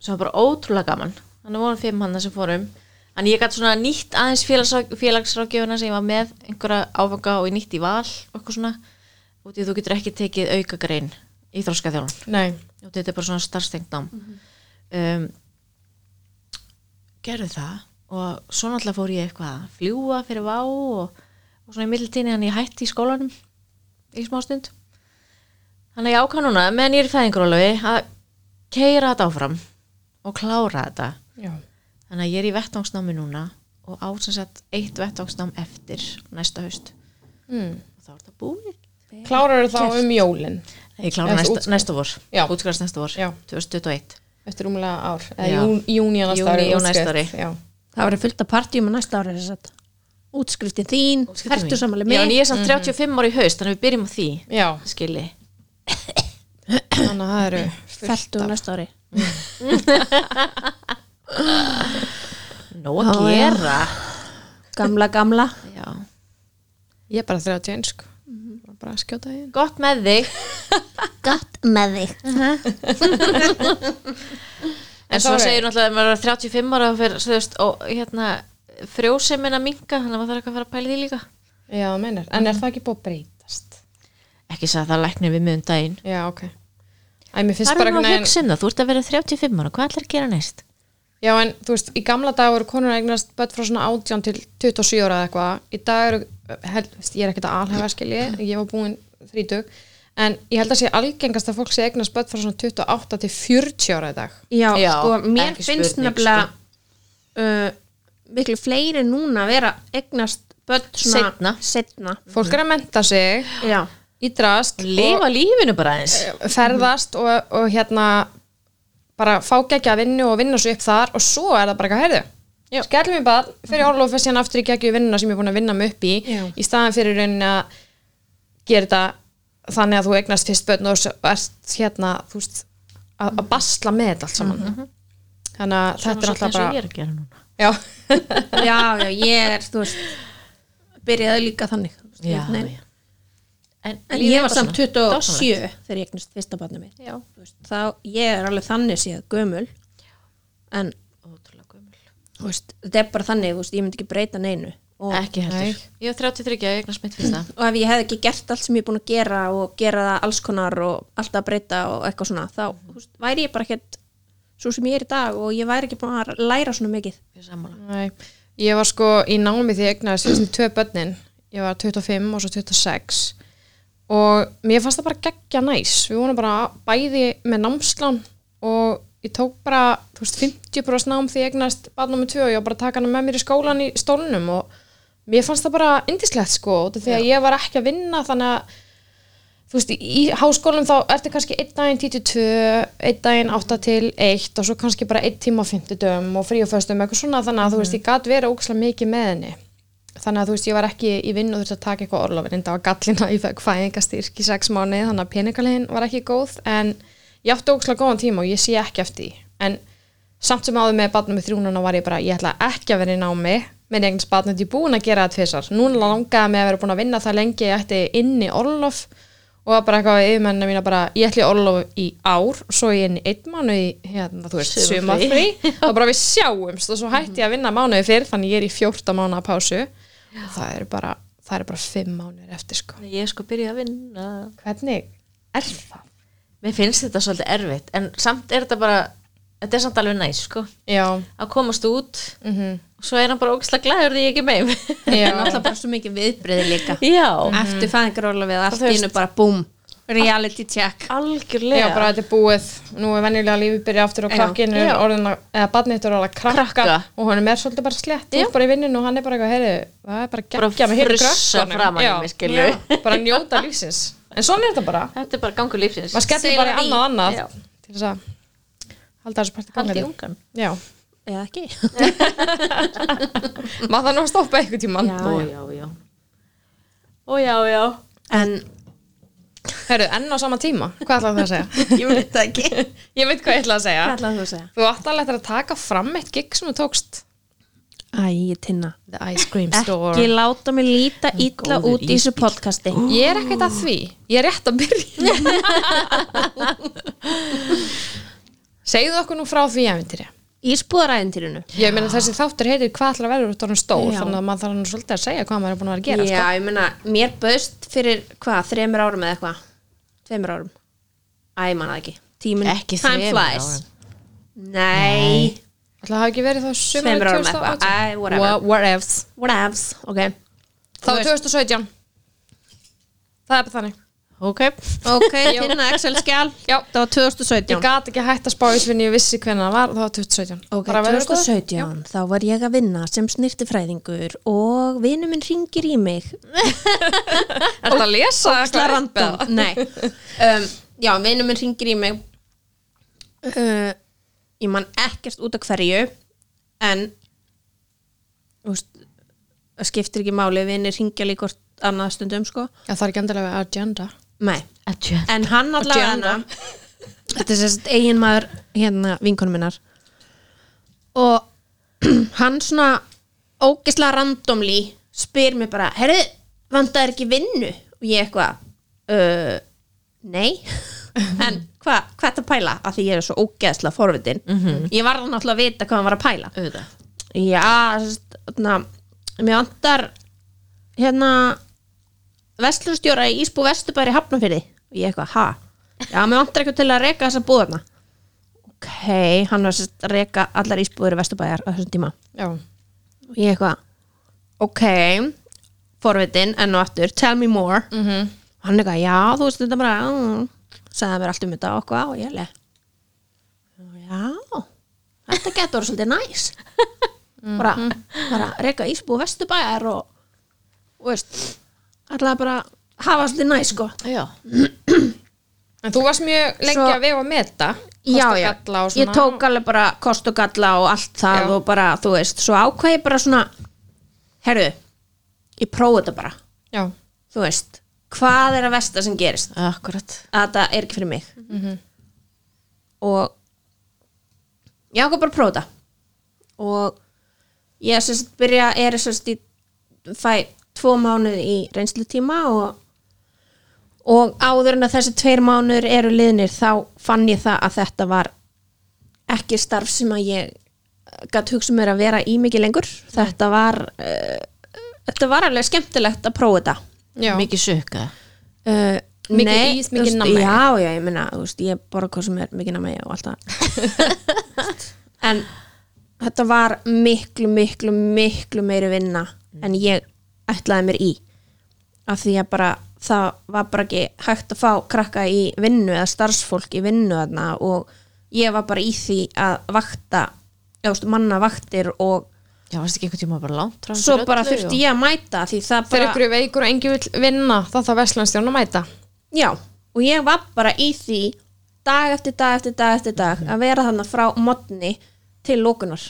S2: sem var bara ótrúlega gaman þannig vorum fimm hann sem fórum en ég gæti svona nýtt aðeins félagsrá- félagsráðgjöfuna sem ég var með einhverja áfanga og ég nýtt í val og eitthvað svona og því að þú getur ekki tekið aukagrein í þróskaþjálun
S3: Nei,
S2: og þetta er bara svona starfstengt nám
S3: Mhm.
S2: um, gerðu það og svo náttúrulega fór ég eitthvað að fljúa fyrir vá og, og svona í middiltíni hann ég hætti í skólanum í smástund þannig að ég ákvað núna meðan ég er í fæðingrólfi að keira þetta áfram og klára þetta
S3: já,
S2: þannig að ég er í vettvangsnámi núna og ásinsett eitt vettvangsnám eftir næsta haust
S3: mm.
S2: og þá er þetta búið
S3: klárar þá um jólin
S2: ég klára
S3: Eða þú
S2: næsta,
S3: útskrifa-
S2: næsta vor
S3: Já.
S2: útskrast næsta vor,
S3: Já.
S2: 2021
S3: eftir rúmlega ár
S2: Já.
S3: eða jún- júní á næsta ári
S2: Júní á
S3: útskrift.
S2: næsta ári.
S3: Já,
S1: Það verður fullt að partjum að næsta ára þess að útskriftin þín, færtu samanlega
S2: Já, en
S1: mig
S2: ég er samt 35 ára í haust, þannig við byrjum á því
S3: já,
S2: skili,
S3: þannig að það eru
S1: færtu næsta ári
S2: nó að
S1: Já, já.
S2: gera
S1: Gamla, gamla
S2: já.
S3: Ég er bara 31 sko bara að skjóta því inn
S2: gott með þig
S1: Gott með þig
S2: en svo
S3: sorry.
S2: segir náttúrulega að maður er 35 ára og, fyrir, veist, og hérna frjósemin að minka, þannig að maður þarf ekki að fara að pæla í því líka
S3: Já, það meinar, en er það ekki búið að breytast?
S2: ekki sagði það læknir við miðum daginn
S3: Já, ok Æ, mér finnst
S2: það
S3: bara
S2: er nú að
S3: einhvern veginn
S2: hugsa um það, þú ert að vera 35 ára hvað ætlar að gera næst?
S3: Já, en þú veist, í gamla dag voru konur að eignast börn frá svona 18 til 27 ára eða eitthvað í dag eru, hel, veist, ég er ekkert að alhæfa skilji, ég var búin 30, en ég held að sé algengast að fólk sé eignast börn frá svona 28 til 40 ára í dag
S1: Já,
S2: Já,
S1: sko, mér
S2: ekki
S1: finnst
S2: spurning,
S1: nefnilega uh, miklu fleiri núna að vera egnast börn svona
S2: Seinna.
S1: setna
S3: fólk er að menta sig
S1: Já,
S3: í drast og
S2: lifa lífinu bara eins
S3: ferðast og, og hérna bara fá geggja að vinnu og vinna svo upp þar og svo er það bara eitthvað herðu skellum ég bara fyrir
S2: Mhm.
S3: orlof fyrir síðan aftur í geggju vinnuna sem ég er búin að vinna mig upp í
S1: Já.
S3: í staðan fyrir rauninni að gera þetta þannig að þú eignast fyrst börn og svo ert hérna þú veist að, að basla með þetta allt saman
S2: Mhm.
S3: þannig að þetta er alltaf bara
S2: ég er að gera núna
S3: já,
S1: já, já, ég er, þú veist byrjaði líka þannig þú veist,
S2: já,
S1: einhvern veginn.
S2: já. En,
S1: En ég var samt 27
S2: Dásamlegt.
S1: þegar ég egnast fyrsta barnið mitt já. Veist, þá ég er alveg þannig séð gömul en
S2: ótrúlega gömul
S1: þú veist, þetta er bara þannig, þú veist, ég myndi ekki breyta neinu og,
S2: ekki heldur, ég var 33 ég eignast mitt fyrsta
S1: og ef ég hef ekki gert allt sem ég er búin að gera og gera það alls konar og alltaf breyta og eitthvað svona þá þú veist, væri ég bara ekkert svo sem ég er í dag og ég væri ekki búin að læra svona mikið
S2: ég er sammála
S3: Nei, ég var sko í námi því ég egnaði síðustu tvö börnin ég var 25 og svo 26 og mér fannst það bara geggja næs við vorum bara bæði með námslán og ég tók bara þú veist, 50% nám því ég egnaðist barnum með tvö og ég var bara að taka hana með mér í skólan í stólnum og mér fannst það bara indislegt sko, út af því að ég var ekki að vinna þannig að þú veist, í háskólum þá ertu kannski einn daginn 10 til 2, einn daginn 8 til 1 og svo kannski bara einn tíma á 50 dögum og frí og föstum eitthvað svona þannig að þú veist, ég gat verið ógæslega mikið með henni þannig að þú veist, ég var ekki í vinn og þurfti að taka eitthvað orlofin en það var gallina, ég fekk fæðingastyrk í 6 mánuði þannig að peningalegin var ekki góð en ég átti ógæslega góðan tíma og ég sé ekki eftir því en samt sem áður með barnum með þrjúnuna var ég bara, ég ætla ekki að vera í námi með eignis barnum, ég er búin að gera það tvisar núna langaði mig að vera búin að vinna það lengi ég ætti inn í orlof og var bara eitthvað yfirmennina mína bara, ég ætla í orlof í ár, svo ég inn í einn mánuð í, hérna, þú veist,
S2: Sumarfrí.
S3: sumafri og bara við sjáumst og svo hætti ég að vinna mánuði fyrr, þannig ég er í 14 mánuða pásu og það eru bara, það eru bara 5 mánuðir eftir sko.
S2: ég er sko byrjuð að vinna
S3: Hvernig er það?
S2: mér finnst þetta svolítið erfitt en samt er þetta bara, þetta er samt alveg næs sko,
S3: Já,
S2: að komast út
S3: mm
S2: og svo er hann bara ógislega glæður því ég ekki meim
S1: en
S3: já,
S1: alltaf bara svo mikið viðbreyði líka
S2: já,
S1: eftir fæðingarólafið, allt
S2: þú
S1: í
S2: veist-
S1: einu bara búm reality check
S2: algjörlega
S3: Já, bara þetta er búið, nú er venjulega lífið byrja aftur og
S1: Já.
S3: krakkinn er
S2: Já.
S3: orðin að, eða badnið er orðin að krakka,
S2: Krakka.
S3: og hann er svolítið bara slett, þú er bara í vinninu og hann er bara eitthvað, heyri, það er bara
S2: Bara
S3: geggja með heyri
S2: frussa framan í
S3: Já.
S2: mig, skilju.
S3: Já, bara njóta lífsins, en svona er þetta bara,
S2: þetta er bara gangur lífsins
S3: maður skellir
S1: Sailor
S3: bara í
S1: V.
S3: annað og annað
S2: Já.
S3: til þess að halda þessu parti
S2: haldi
S3: gangandi.
S2: í ungan
S3: Já,
S1: eða ekki
S3: maður það nú að stoppa eitthvað tíman.
S1: Já.
S2: ó já, já ó já, já
S1: en
S3: Heyri, enn á sama tíma, hvað ætlaði það að segja?
S1: ég veit það ekki hvað
S3: Ég veit hvað ég ætlaði að segja.
S1: ætlaði þú að segja?
S3: Þú átt alveg eftir að taka fram eitt gig sem þú tókst.
S1: Æ, ég tinna
S3: The Ice Cream
S1: ekki láta mig líta illa
S2: góður
S1: út í þessu podcasti
S3: Ég er ekkert að því, ég er rétt að byrja Segðu okkur nú frá því æventýri
S1: í spúðaræðintýrinu
S3: Ég meina þessi þáttur heitir hvað ætlar að vera út orðin stór
S1: Já.
S3: þannig að maður þarf nú svolítið að segja hvað maður er búin að vera
S1: já,
S3: að gera sko.
S1: ég meina, mér bauðst fyrir hvað, þremur árum eða eitthvað tveimur árum, æ, ég manna ekki tíminn,
S2: Ekki
S1: time
S2: þremur
S1: flies
S2: árum.
S1: nei,
S3: Ætli það hafi ekki verið þá
S1: Tveimur
S3: sumar
S1: árum eitthvað, æ, whatever.
S3: whatever
S1: whatevs, ok
S3: Þá er 2017 Það er bara þannig
S2: ok,
S1: ok, hérna Excel-skjál
S3: Já.
S1: það var
S3: Ég
S1: 2017
S3: gat ekki hætt að spá í svinni ég vissi hvernig það var, það var 2017
S1: Ok,
S3: Bara að vera góður.
S1: 2017, þá var ég að vinna sem snirtifræðingur og vinur minn ringir í mig
S3: Er það að lesa?
S1: óksla
S3: eitthvað upp
S1: random
S3: eða?
S1: Nei um, Já, vinur minn ringir í mig uh, Ég man ekkert út af hverju En Þú veist það skiptir ekki máli, vinir ringja líka hvort annað stundum sko
S3: Já, það er ekki endilega við agenda
S1: Nei.
S2: Adjö.
S1: En hann allavega
S3: Agenda.
S1: hana- Þetta er sérst eigin maður hérna vinkonum minnar og hann svona ógislega randomli spyr mér bara, herðu, vantar ekki vinnu? Og ég eitthvað uh, nei en hvað hva ertu að pæla? Af því ég er svo ógeðslega forvitin ég var þannig alltaf að vita hvað hann var að pæla
S2: auðvitað
S1: já, sérst, þarna, mér vantar hérna vestlustjóra í Ísbú Vesturbæri Hafnafyrði og ég eitthvað, ha? Já, mér vantar eitthvað til að reka þessa búðarna ok, hann var sérst að reka allar Ísbúður í Vesturbæjar á þessum tíma
S3: Já,
S1: og ég eitthvað, ok forvitin enn og aftur, tell me more
S3: mhm
S1: hann er eitthvað, já, þú veist þetta bara mm, sagði mér allt um þetta og hvað og ég leið já, þetta getur orðið svolítið næs bara,
S3: Mhm.
S1: bara reyka ísbú vesturbæjar og, og veist allavega bara hafa svolítið næs sko
S2: já,
S3: En þú varst mjög lengi
S1: Svo-
S3: að vega með þetta
S1: já, já, ég tók alveg bara kost og galla og allt það
S3: Já.
S1: og bara, þú veist, svo ákvað ég bara svona herru, ég prófa þetta bara
S3: Já,
S1: þú veist, hvað er að versta sem gerist
S2: akkurat
S1: að þetta er ekki fyrir mig og ég ákvað bara að prófa þetta og ég sem sagt byrja er sem sagt í fæ tvo mánuð í reynslutíma og og áður en að þessi tveir mánuður eru liðnir þá fann ég það að þetta var ekki starf sem að ég gætt hugsa mér að vera í mikið lengur þetta var uh, þetta var alveg skemmtilegt að prófa þetta
S3: já,
S2: mikið sökka
S1: Uh,
S3: Mikið
S1: nei,
S3: ís,
S1: þú
S3: mikið
S1: veist,
S3: nammi.
S1: Já, já, ég meina, þú veist, ég borða hvað sem er mikið nammi og allt það En þetta var miklu, miklu, miklu meiri vinna en ég ætlaði mér í af því að bara það var bara ekki hægt að fá krakka í vinnu eða starfsfólk í vinnu þarna og ég var bara í því að vakta, já, þú veist, manna vaktir og
S2: já, varst ekki einhvern tíma bara langt fram
S1: svo
S2: fyrir
S1: bara
S2: öllu
S1: þurfti ég að mæta því það
S3: þegar
S1: bara
S3: ykkur er veikur og engi vill vinna þá þarf Vestlandstjón að mæta
S1: Já, og ég var bara í því dag eftir dag eftir dag eftir dag að vera þannig frá modni til lókunar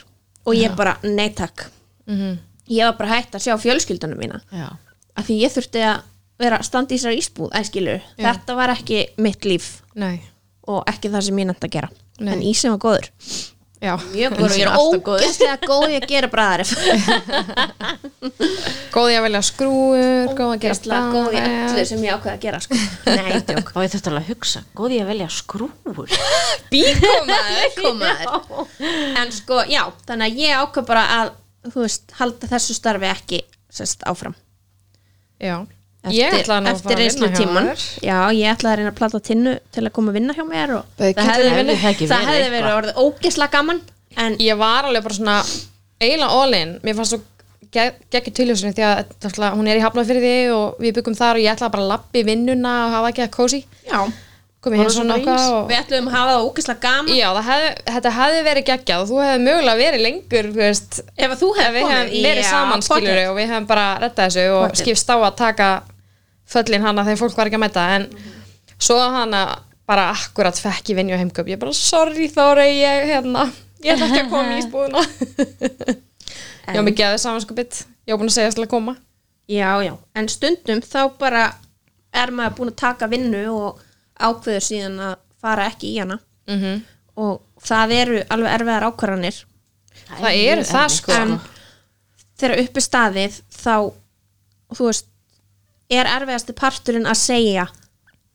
S1: og ég bara nei takk
S2: Mhm.
S1: ég var bara hætt að sjá fjölskyldunum mína
S2: já,
S1: af því ég þurfti að vera standi í sér ísbúð æskilur,
S3: Já.
S1: þetta var ekki mitt líf
S3: Nei,
S1: og ekki það sem ég nætti að gera
S3: Nei.
S1: en ísinn var góður
S3: já,
S1: ég
S2: góður og ég er alltaf góður.
S1: ógæslega góð í að gera bræðarif
S3: góði að velja skrúur góði að gera
S1: ógæslega góð í
S3: staðar.
S1: öllu sem ég ákveða að gera sko. nei, djók
S2: og ég þurfti alveg að hugsa góði ég að velja skrúur
S1: bíkomaður en sko, já, þannig að ég ákvað bara að þú veist, halda þessu starfi ekki sest, áfram
S3: Já, ég
S1: eftir,
S3: ætlaði nú að fara
S1: eftir
S3: að
S1: reynslu
S3: vinna hjá
S1: tíman
S3: þér.
S1: já, ég ætlaði að reyna að plata tinnu til að koma að vinna hjá mér og
S3: Það getur
S1: hefði
S2: verið-
S1: verið,
S2: það ekki
S1: það
S2: verið
S1: hefði verið
S2: eitthvað.
S1: orðið ógisla gaman en
S3: ég var alveg bara svona eiginlega all in, mér fannst svo geggjur tilhjóðsynni því að ætla, hún er í hafnað fyrir því og við byggum þar og ég ætlaði bara að lappi vinnuna og hafa ekki að kósi
S1: já,
S3: komið hér svona
S2: bara í
S3: okkar og
S1: við ætluðum að hafa það ógisla gaman
S3: já, það hefði, þetta hefði verið geggjað og þú hefði mögulega verið lengur þú veist,
S1: ef að þú
S3: ef
S1: hefði
S3: við
S1: komið
S3: hefðum verið
S1: Já,
S3: saman skilur
S1: pottet.
S3: og við hefðum bara rettað þessu og
S1: Pottet.
S3: skipst á að taka föllin hana þegar fólk var ekki að mæta en svo hana bara akkurat fekk ég vinju á heimköp ég bara sorry Þóra ég hérna ég ætla ekki að koma í spúðuna ég var mikið að þið samanskupið ég var búin að segja til að koma
S1: Já, já, en stundum þá bara er maður búin að taka vinnu og ákveður síðan að fara ekki í hana
S3: mm
S1: Mhm.
S3: -hmm.
S1: og það eru alveg erfiðar ákvarðanir
S3: það eru það sko
S1: en þegar uppi staðið þá, þú veist er erfiðasti parturinn að segja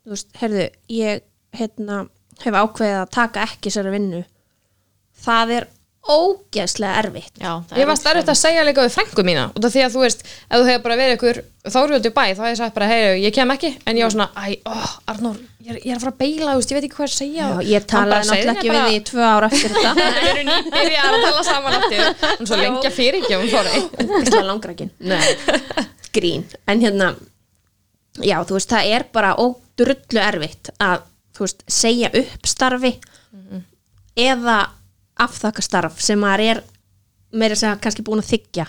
S1: þú veist, heyrðu, ég hérna, hef ákveðið að taka ekki sér að vinnu það er ógeðslega erfitt
S2: já, það
S3: ég
S2: er
S3: var starfitt að segja líka við frængu mína út af því að þú veist, ef þú hefur bara verið ykkur þórjóti bæ, þá hef ég sagt bara, heyru, ég kem ekki en ég var svona, æ, ó, Arnór ég er, ég er að fara að beila, þú veist, ég veit ekki hvað að segja
S1: Já, ég talaði náttúrulega ekki við því í tvö ára eftir þetta
S3: við erum nýbyrjað að tala saman aftur en svo lengja fyrir ekki um fóri
S1: ógeðslega langrækin grín, en hérna já, þú veist, það er bara ódrullu erfitt að, þú veist, segja upp starfi
S3: Mhm.
S1: eða afþakka starf sem maður er meira sem kannski búin að þykja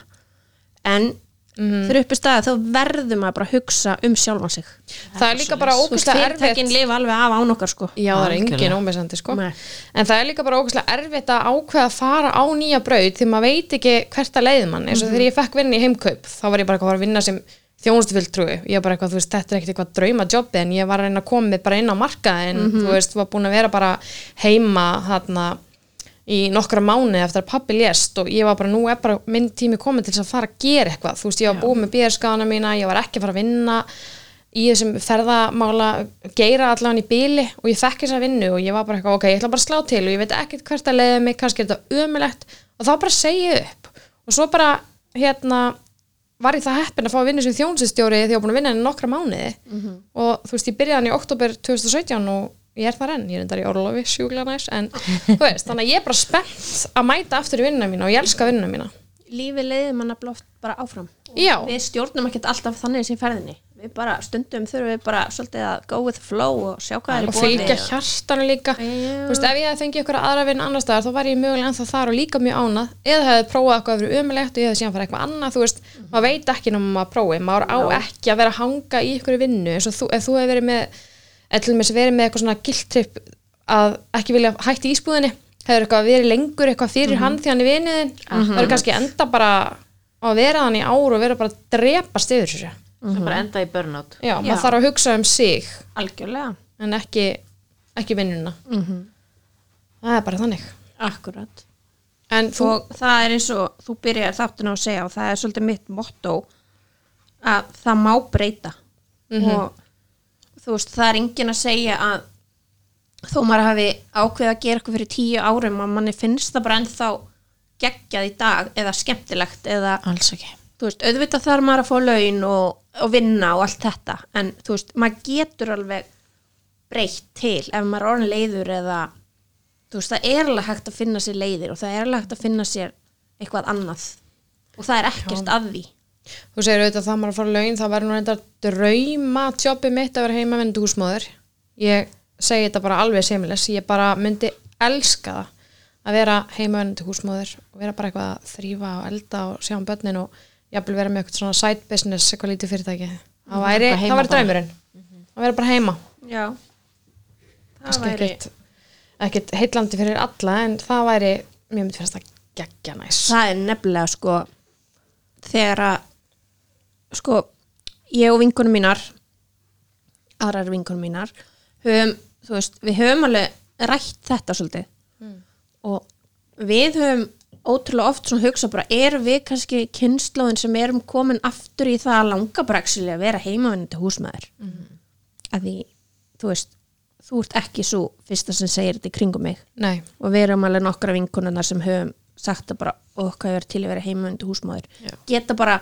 S1: en mm
S3: Mhm.
S1: -hmm. þegar uppi staðið þá verður maður bara að hugsa um sjálfan sig
S3: það er líka bara
S1: Þú veist,
S3: ógustlega erfitt
S1: fyrirtækin lifa alveg af án okkar sko
S3: já, það er engin
S2: Algjörlega.
S3: ómissandi sko
S1: Nei.
S3: en það er líka bara ógustlega erfitt að ákveða að fara á nýja braut því maður veit ekki hvert að leið mann eins og
S1: Mhm.
S3: þegar ég fekk vinna í heimkaup þá var ég bara eitthvað að fara að vinna sem þjónustufulltrúi ég var bara eitthvað, þú veist, þetta er ekkert eitthvað drauma jobbi en ég var að reyna að koma mig bara inn á markað en
S1: Mhm.
S3: þú veist, var búin að vera bara heima þarna í nokkra mánu eftir að pappi lést og ég var bara, nú er bara minn tími komið til þess að fara að gera eitthvað, þú veist, ég var búið með bíðarskana mína, ég var ekki að fara að vinna í þessum ferðamála geira allan í bíli og ég fekk þessa vinnu og ég var bara eitthvað, ok, ég ætla bara að slá til og ég veit ekkert hvert að leiða mig, kannski er þetta ömulegt og þá bara segi ég upp og svo bara, hérna var ég það heppin að fá að vinna sem þjónsistjóri því ég var búin að vinna henni nokkra mánuði og þú veist, ég byrjaði hann í oktober 2017 og ég er þar enn, ég er endar í orlofi sjúklega næs, en þú veist, þannig að ég er bara spennt að mæta aftur í vinnuna mína og ég elska vinnuna mína
S1: lífi leiðir manna blóft bara áfram
S3: Já,
S1: við stjórnum ekkert alltaf þannig sem ferðinni við við bara stundum þurfum við bara svolítið að go with the flow og sjá hvað er í
S3: og
S1: boði
S3: fylgja
S1: og-
S3: hjartanu líka
S2: Já.
S3: Þú veist, ef ég hefði fengið ykkur aðra vinn annar staðar þá var ég mögulega ennþá þar og líka mjög ánað eða hefði prófað eitthvað að vera umilegt og ég hefði síðan farið eitthvað annað þú veist,
S1: Mhm.
S3: maður veit ekki náma maður prófi maður á ekki að vera að hanga í ykkur vinnu eins og þú, ef þú hefur verið með etlum þess verið með eitthvað svona giltripp að ekki vilja hætti í ísbúðinni hefur eitthvað verið lengur eitthvað
S1: Mhm.
S3: fyrir hann því hann er vinniðin, mm -hmm. verður kannski enda bara á að vera hann í ár og vera bara að drepast yfir þessu
S2: sem bara enda í burnout
S3: já,
S1: Já.
S3: maður þarf að hugsa um sig
S1: algjörlega
S3: en ekki, ekki vinnuna
S2: Mhm.
S3: það er bara þannig
S1: akkurat
S3: en þú,
S1: og það er eins og þú byrjar þáttin á að segja og það er svolítið mitt motto að það má breyta
S2: Mhm.
S1: og þú veist það er enginn að segja að þó maður hafi ákveðið að gera eitthvað fyrir tíu árum að manni finnst það bara ennþá geggjað í dag eða skemmtilegt eða
S2: alls ekki
S1: þú veist, auðvitað þarf maður að fá laun og, og vinna og allt þetta en þú veist, maður getur alveg breytt til ef maður er orðin leiður eða þú veist, það er alveg hægt að finna sér leiðir og það er alveg hægt að finna sér eitthvað annað og það er ekkert að því
S3: þú segir auðvitað það maður að fara á laun það verður nú reyndar drauma tjópi mitt að vera heima vindu húsmóður ég segi þetta bara alveg semlis ég bara myndi elska það að vera heima vindu húsmóður og vera bara eitthvað að þrýfa og elda og sjá um börnin og jafnvel vera með eitthvað svona side business eitthvað lítið fyrirtæki það væri,
S2: Mm, bara Mhm. heima
S3: það
S2: bara.
S3: væri draumurinn að vera bara heima
S1: já það
S3: kannski
S1: væri,
S3: ekkert, ekkert heitlandi fyrir alla en það væri, mér myndi finnst það geggja næs
S1: það er nefnilega sko þegar að sko, ég og vinkunum mínar aðrar vinkunum mínar höfum, þú veist, við höfum alveg rætt þetta svolítið og við höfum ótrúlega oft svona hugsa bara, erum við kannski kynnslóðin sem erum komin aftur í það að langa braksili að vera heimavinnandi húsmaður að því, þú veist þú ert ekki svo fyrsta sem segir þetta í kringum mig
S3: Nei,
S1: og við erum alveg nokkra vinkunarnar sem höfum sagt að bara okkar verið til að vera heimavöndu húsmaður geta bara,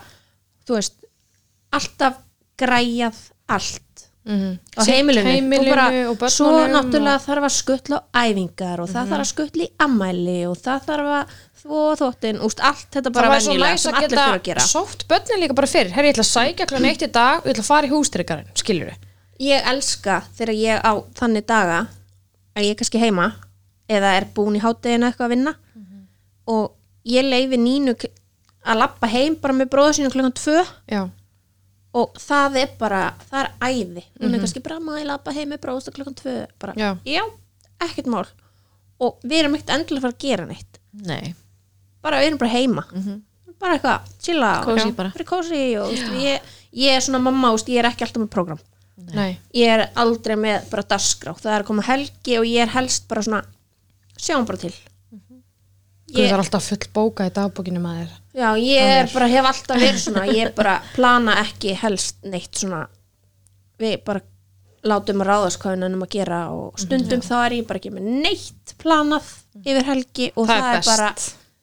S1: þú veist alltaf græjað allt
S3: mm -hmm.
S1: á heimilinu,
S3: heimilinu
S1: og bara
S3: og börnunum
S1: svo
S3: og- Mhm.
S1: náttúrulega þarf að skuttla á æfingar og það þarf að skuttla í ammæli og það þarf að þvó þóttin úst, allt þetta
S3: það
S1: bara
S3: var svo
S1: venjulega
S3: næs
S1: sem
S3: að
S1: allir
S3: geta
S1: þurfa að gera
S3: sótt börnin líka bara fyrir, herri ég ætla að sækja klan eitt í dag, ég ætla að fara í hústryggarinn skilur við,
S1: ég elska þegar ég á þannig daga að ég er kannski heima eða er búin í hátteginu eitthvað að vinna og ég leifi nínu k- að lappa heim bara með bróður sínu klukkan tvö
S3: já,
S1: og það er bara, það er æði hún er kannski bara maður að lappa heim með bróður sínu klukkan tvö bara,
S3: Já.
S1: ekkert mál og við erum ekkert endilega að fara að gera neitt
S2: nei,
S1: bara við erum bara heima bara eitthvað, chilla og-
S2: Kósí
S1: Já.
S2: bara.
S1: bara kósi og þú veist, ég, ég er svona mamma, þú veist, ég er ekki alltaf með program
S3: nei,
S1: ég er aldrei með bara dasgrá það er að koma helgi og ég er helst bara svona sjáum bara til
S3: Guð, það
S1: ég,
S3: er alltaf full bóka í dagbókinu maður
S1: já, ég er bara hef alltaf verið svona ég er bara plana ekki helst neitt svona við bara látum að ráðast hvað við nennum að gera og stundum þá er ég bara ekki með neitt planað yfir helgi og
S3: Það
S1: Mhm. það,
S3: er
S1: er,
S3: best.
S1: bara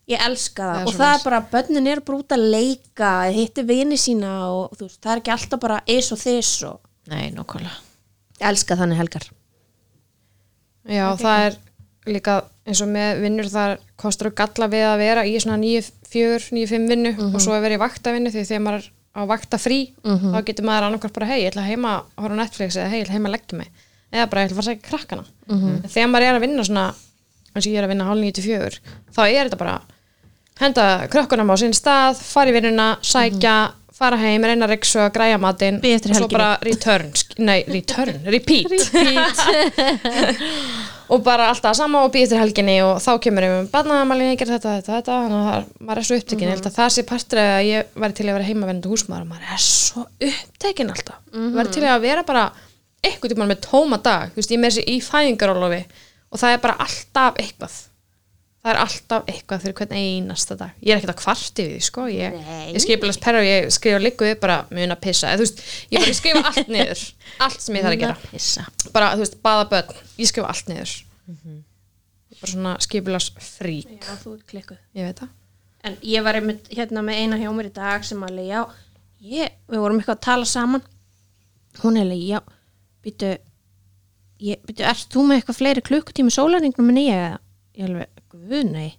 S1: ég elska það,
S3: Það er
S1: og það
S3: svoleiðis.
S1: er bara bönnin er bara út að leika hittir vini sína og þú veist, það er ekki alltaf bara is og þis og
S2: nei, nokkvæmlega
S1: ég elska þannig helgar
S3: já, það er líka eins og með vinnur þar kostur og galla við að vera í svona 9-4, 9-5 vinnu og svo að vera í vaktavinnu því þegar maður er á vakta frí þá getur maður annarkvært bara hei, ég ætla heima að horfa á Netflix eða hei, ég ætla heima að leggja mig eða bara ég ætla að fara að segja krakkana en þegar maður er að vinna svona eins og ég er að vinna hálf 9-4 þá er þetta bara henda krökkunum á sinn stað fara í vinnuna, sækja fara heim, reyna að reyksu að græja matinn
S1: Bíða eftir
S3: og svo
S1: helginni.
S3: bara return, sk- nei return, repeat og bara alltaf sama og býð til helginni og þá kemur ég með barnaðamælinni, ég ger þetta, þetta, þetta þannig að það er- maður er svo upptekinn, ég held að það sé partur að ég væri til að vera heimavendu húsmaður og maður er svo upptekinn alltaf mm væri til að vera bara eitthvað tíma með tóma dag, þú veist, ég er með þessi í fæðingarólofi og það er bara alltaf eitthvað það er alltaf eitthvað fyrir hvern einasta dag, ég er ekkert að kvarti við því, sko, ég,
S1: Nei.
S3: ég skipilast perra og ég skrifa líku upp bara mun að pissa, eða þú veist, ég bara skrifa allt niður allt sem ég þarf að gera
S2: pissa
S3: bara, þú veist, baða börn, ég skrifa allt niður ég er bara svona skipilars frík,
S1: Mhm. já, þú er klikkuð
S3: ég veit það
S1: En ég var einmitt hérna með eina hjá mér í dag sem alveg, já, ég, við vorum eitthvað að tala saman. Hún er alveg, já, býtu, ég, býtu, ert þú með eitthvað fleiri klukkutími sólaringnum en ég? eða?" Ég alveg, guð, nei.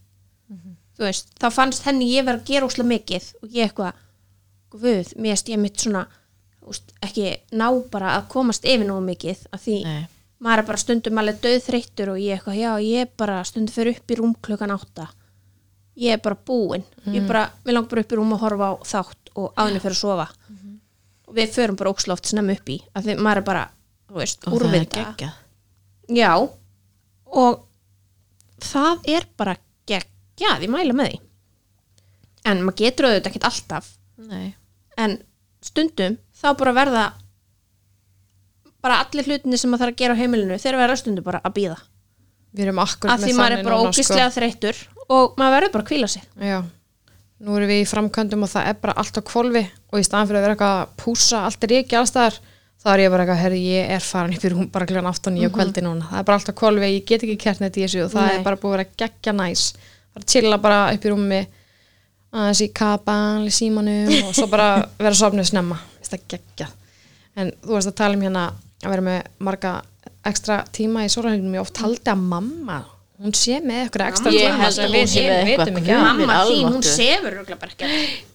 S1: Þú veist, þá fannst henni ég verið að gera úslega mikið og ég eitthvað, guð, mér erst ég mitt svona, þú úst, ekki ná bara að komast yfir nógu mikið af því
S2: Nei.
S1: maður er bara stundum alveg döðþreyttur og ég eitthvað, já, ég er bara stundum fyrir upp í rúm klukkan átta ég er bara búin,
S2: Mm.
S1: ég er bara við langar bara upp í rúm að horfa á þátt og áðinu fyrir að sofa
S2: Mhm.
S1: og við förum bara óksloft snemma upp í, af því maður er bara þú veist,
S2: og það er
S1: úrvinda
S2: geggjað
S1: já, og það er bara geggjað, ég mæla með því en maður getur auðvitað ekkert alltaf
S2: Nei.
S1: en stundum þá bara verða bara allir hlutinni sem maður þarf að gera á heimilinu þeir verða stundum bara að býða
S3: Við erum akkur
S1: að því maður er bara
S3: sko.
S1: ógíslega þreyttur og maður verður bara að kvíla sig
S3: Já, nú erum við í framkvæmdum og það er bara allt á kvolfi og í staðan fyrir að vera eitthvað að púsa allt er ekki allstaðar þá er ég bara eitthvað, herri, ég er farin yfir hún bara kljóðan 8 og
S2: Mhm.
S3: 9 mm kvöldi núna það er bara allt á kvolfi, ég get ekki kert neitt í þessu og það
S1: Nei.
S3: er bara búið að vera geggja næs bara chilla bara upp í rúmi aðeins í kapan, í símanum og svo bara vera sofnuð snemma Veist það geggja en þú varst að tala um hérna að vera með marga ekstra tíma í sólarhengnum ég oft haldi að mamma hún sé með eitthvað ekstra
S2: Ég
S3: tíma
S2: held
S3: sem
S2: að
S3: við
S2: hún sé með
S3: hin
S2: eitthvað.
S3: vitum ekki af.
S2: Guð minn almáttugur.
S1: sefur örugglega bara ekki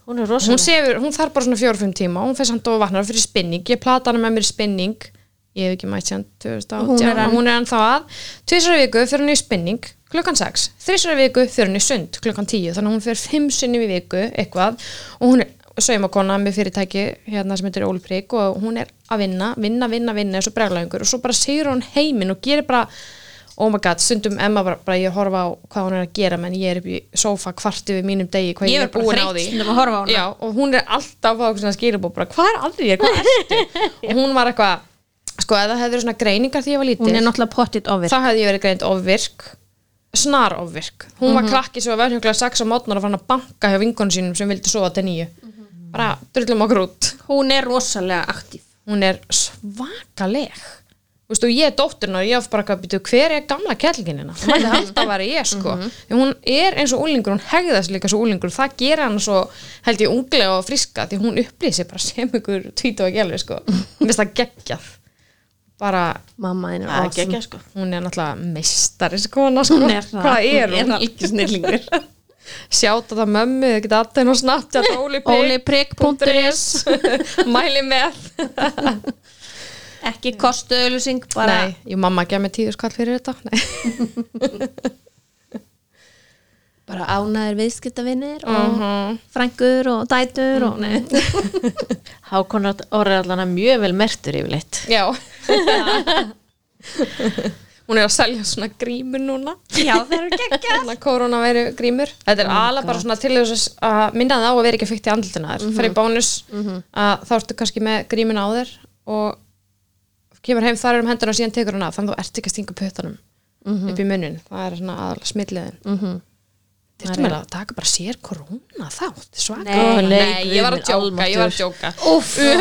S2: hún er
S3: hún,
S2: rosalega
S3: sefur, hún þarf bara svona fjóra-fimm tíma hún fyrir samt og vatnar fyrir spinning ég plata hana með mér í spinning ég hef ekki mætt sér
S1: Hún er enn-
S3: 2018 hún er ennþá að tvisara viku fyrir henni í spinning klukkan 6, þrisara viku fyrir henni í sund klukkan 10, þannig að hún fyrir 5 sinni í viku eitthvað og hún er saumakona með fyrirtæki hérna sem heitir Ólprík og hún er að vinna, vinna, vinna, vinna eins og breglaðingur og svo bara segir hún heiminn og gerir bara oh my god, stundum Emma bara, bara ég horfa á hvað hún er að gera menn ég er upp í sófa kvart yfir mínum degi
S1: Ég
S3: hvað ég,
S1: er
S3: er
S1: bara
S3: búin á
S1: þreytt
S3: því
S1: stundum að horfa á hana.
S3: Já, og hún er alltaf að fá eitthvað svona skilabó bara hvað er aldrei ég, hvað ertu og hún var eitthvað, sko ef það hefði verið svona greiningar því ég var lítil
S1: hún er náttúrulega pottit ofir
S3: þá hefði ég verið greind ofvirk snar ofvirk, hún
S1: Mhm.
S3: var krakki sem var verðjönglega 6 á mótnar og fann að banka hjá vinkonum sínum sem vildi sofa til nýju
S1: Mhm.
S3: bara drullum okkur út
S1: hún er rosalega aktív
S3: hún er svakaleg Þú veist, og ég er dótturinn og ég hef bara eitthvað býtu hver er gamla kellginina það mætti halda að vera ég sko
S1: Mhm.
S3: því hún er eins og úlingur, hún hegðast líka svo úlingur það gera hann svo held ég unglega og friska því hún upplýsi bara sem ykkur tvítu og gelfi sko Mér finnst það geggjað bara
S1: mamma þín
S2: það
S1: er
S2: er geggjað sko
S3: hún er náttúrulega meistari sko, hana, sko.
S1: Hún er það.
S3: hvað er
S1: Hún er
S3: hún?
S1: algjör snillingur.
S3: sjáta það mömmu, þið geta alltaf og snabbt
S1: óliprygg.is
S3: mæli með
S1: ekki kostuðulusing bara
S3: Nei, jú mamma gef mér tíðu skall fyrir þetta Nei.
S1: bara ánæður viðskiptavinir og uh frængur og dætur og nei
S2: Hákon orðið allan að mjög vel mertur yfirleitt
S3: Já Hún er að selja svona grímur núna
S1: já þeir eru geggja
S3: Þannig að korona veri grímur Þetta er ala bara svona til þess að minna það á að vera ekki fyrkt í andlutina þér mm í bónus að þá ertu kannski með grímuna á þér og kemur heim þar um hendur og síðan tekur hún af þannig að þú ert ekki að stinga pötunum upp í munnin það er svona aðal smitliðin mm -hmm. Þetta með að taka bara sér korona þátt svaka
S1: Nei,
S3: Nei,
S2: nei,
S3: ég var að
S2: guð minn
S3: djóka, ég var að
S2: almáttugur.
S3: djóka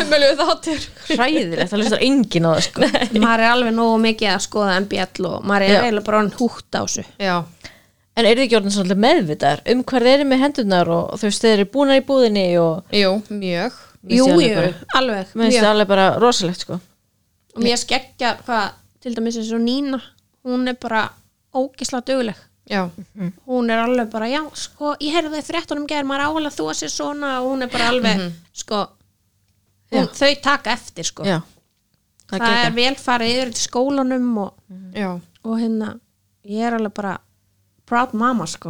S3: Umölu þáttir
S2: hræðilegt, það lustar engin á það sko
S1: maður er alveg nógu mikið að skoða MBL og maður er eiginlega bara hann hútt á þessu
S3: Já,
S2: en eru þið ekki orðin svolítið meðvitaðar um hvað þeir eru með hendurnar og og þú veist þeir eru búnar í búðinni og
S3: jú, mjög
S2: Mér
S1: jú,
S2: sé alveg
S1: jú, alveg
S2: mér finnst
S1: mjög.
S2: það alveg bara rosalegt sko
S1: og mér skeggja hvað til dæmis eins og Nína hún er bara ógisla döguleg
S3: Já,
S1: hún er alveg bara, já, sko ég heyrði það í fréttunum gær, maður áhuga þú að sé svona og hún er bara alveg, sko hún, þau taka eftir, sko
S2: Mhm. já,
S1: það,
S2: það Mm.
S1: er
S2: er
S1: vel farið yfir til skólanum og,
S3: já
S1: og hérna, ég er alveg bara proud mama, sko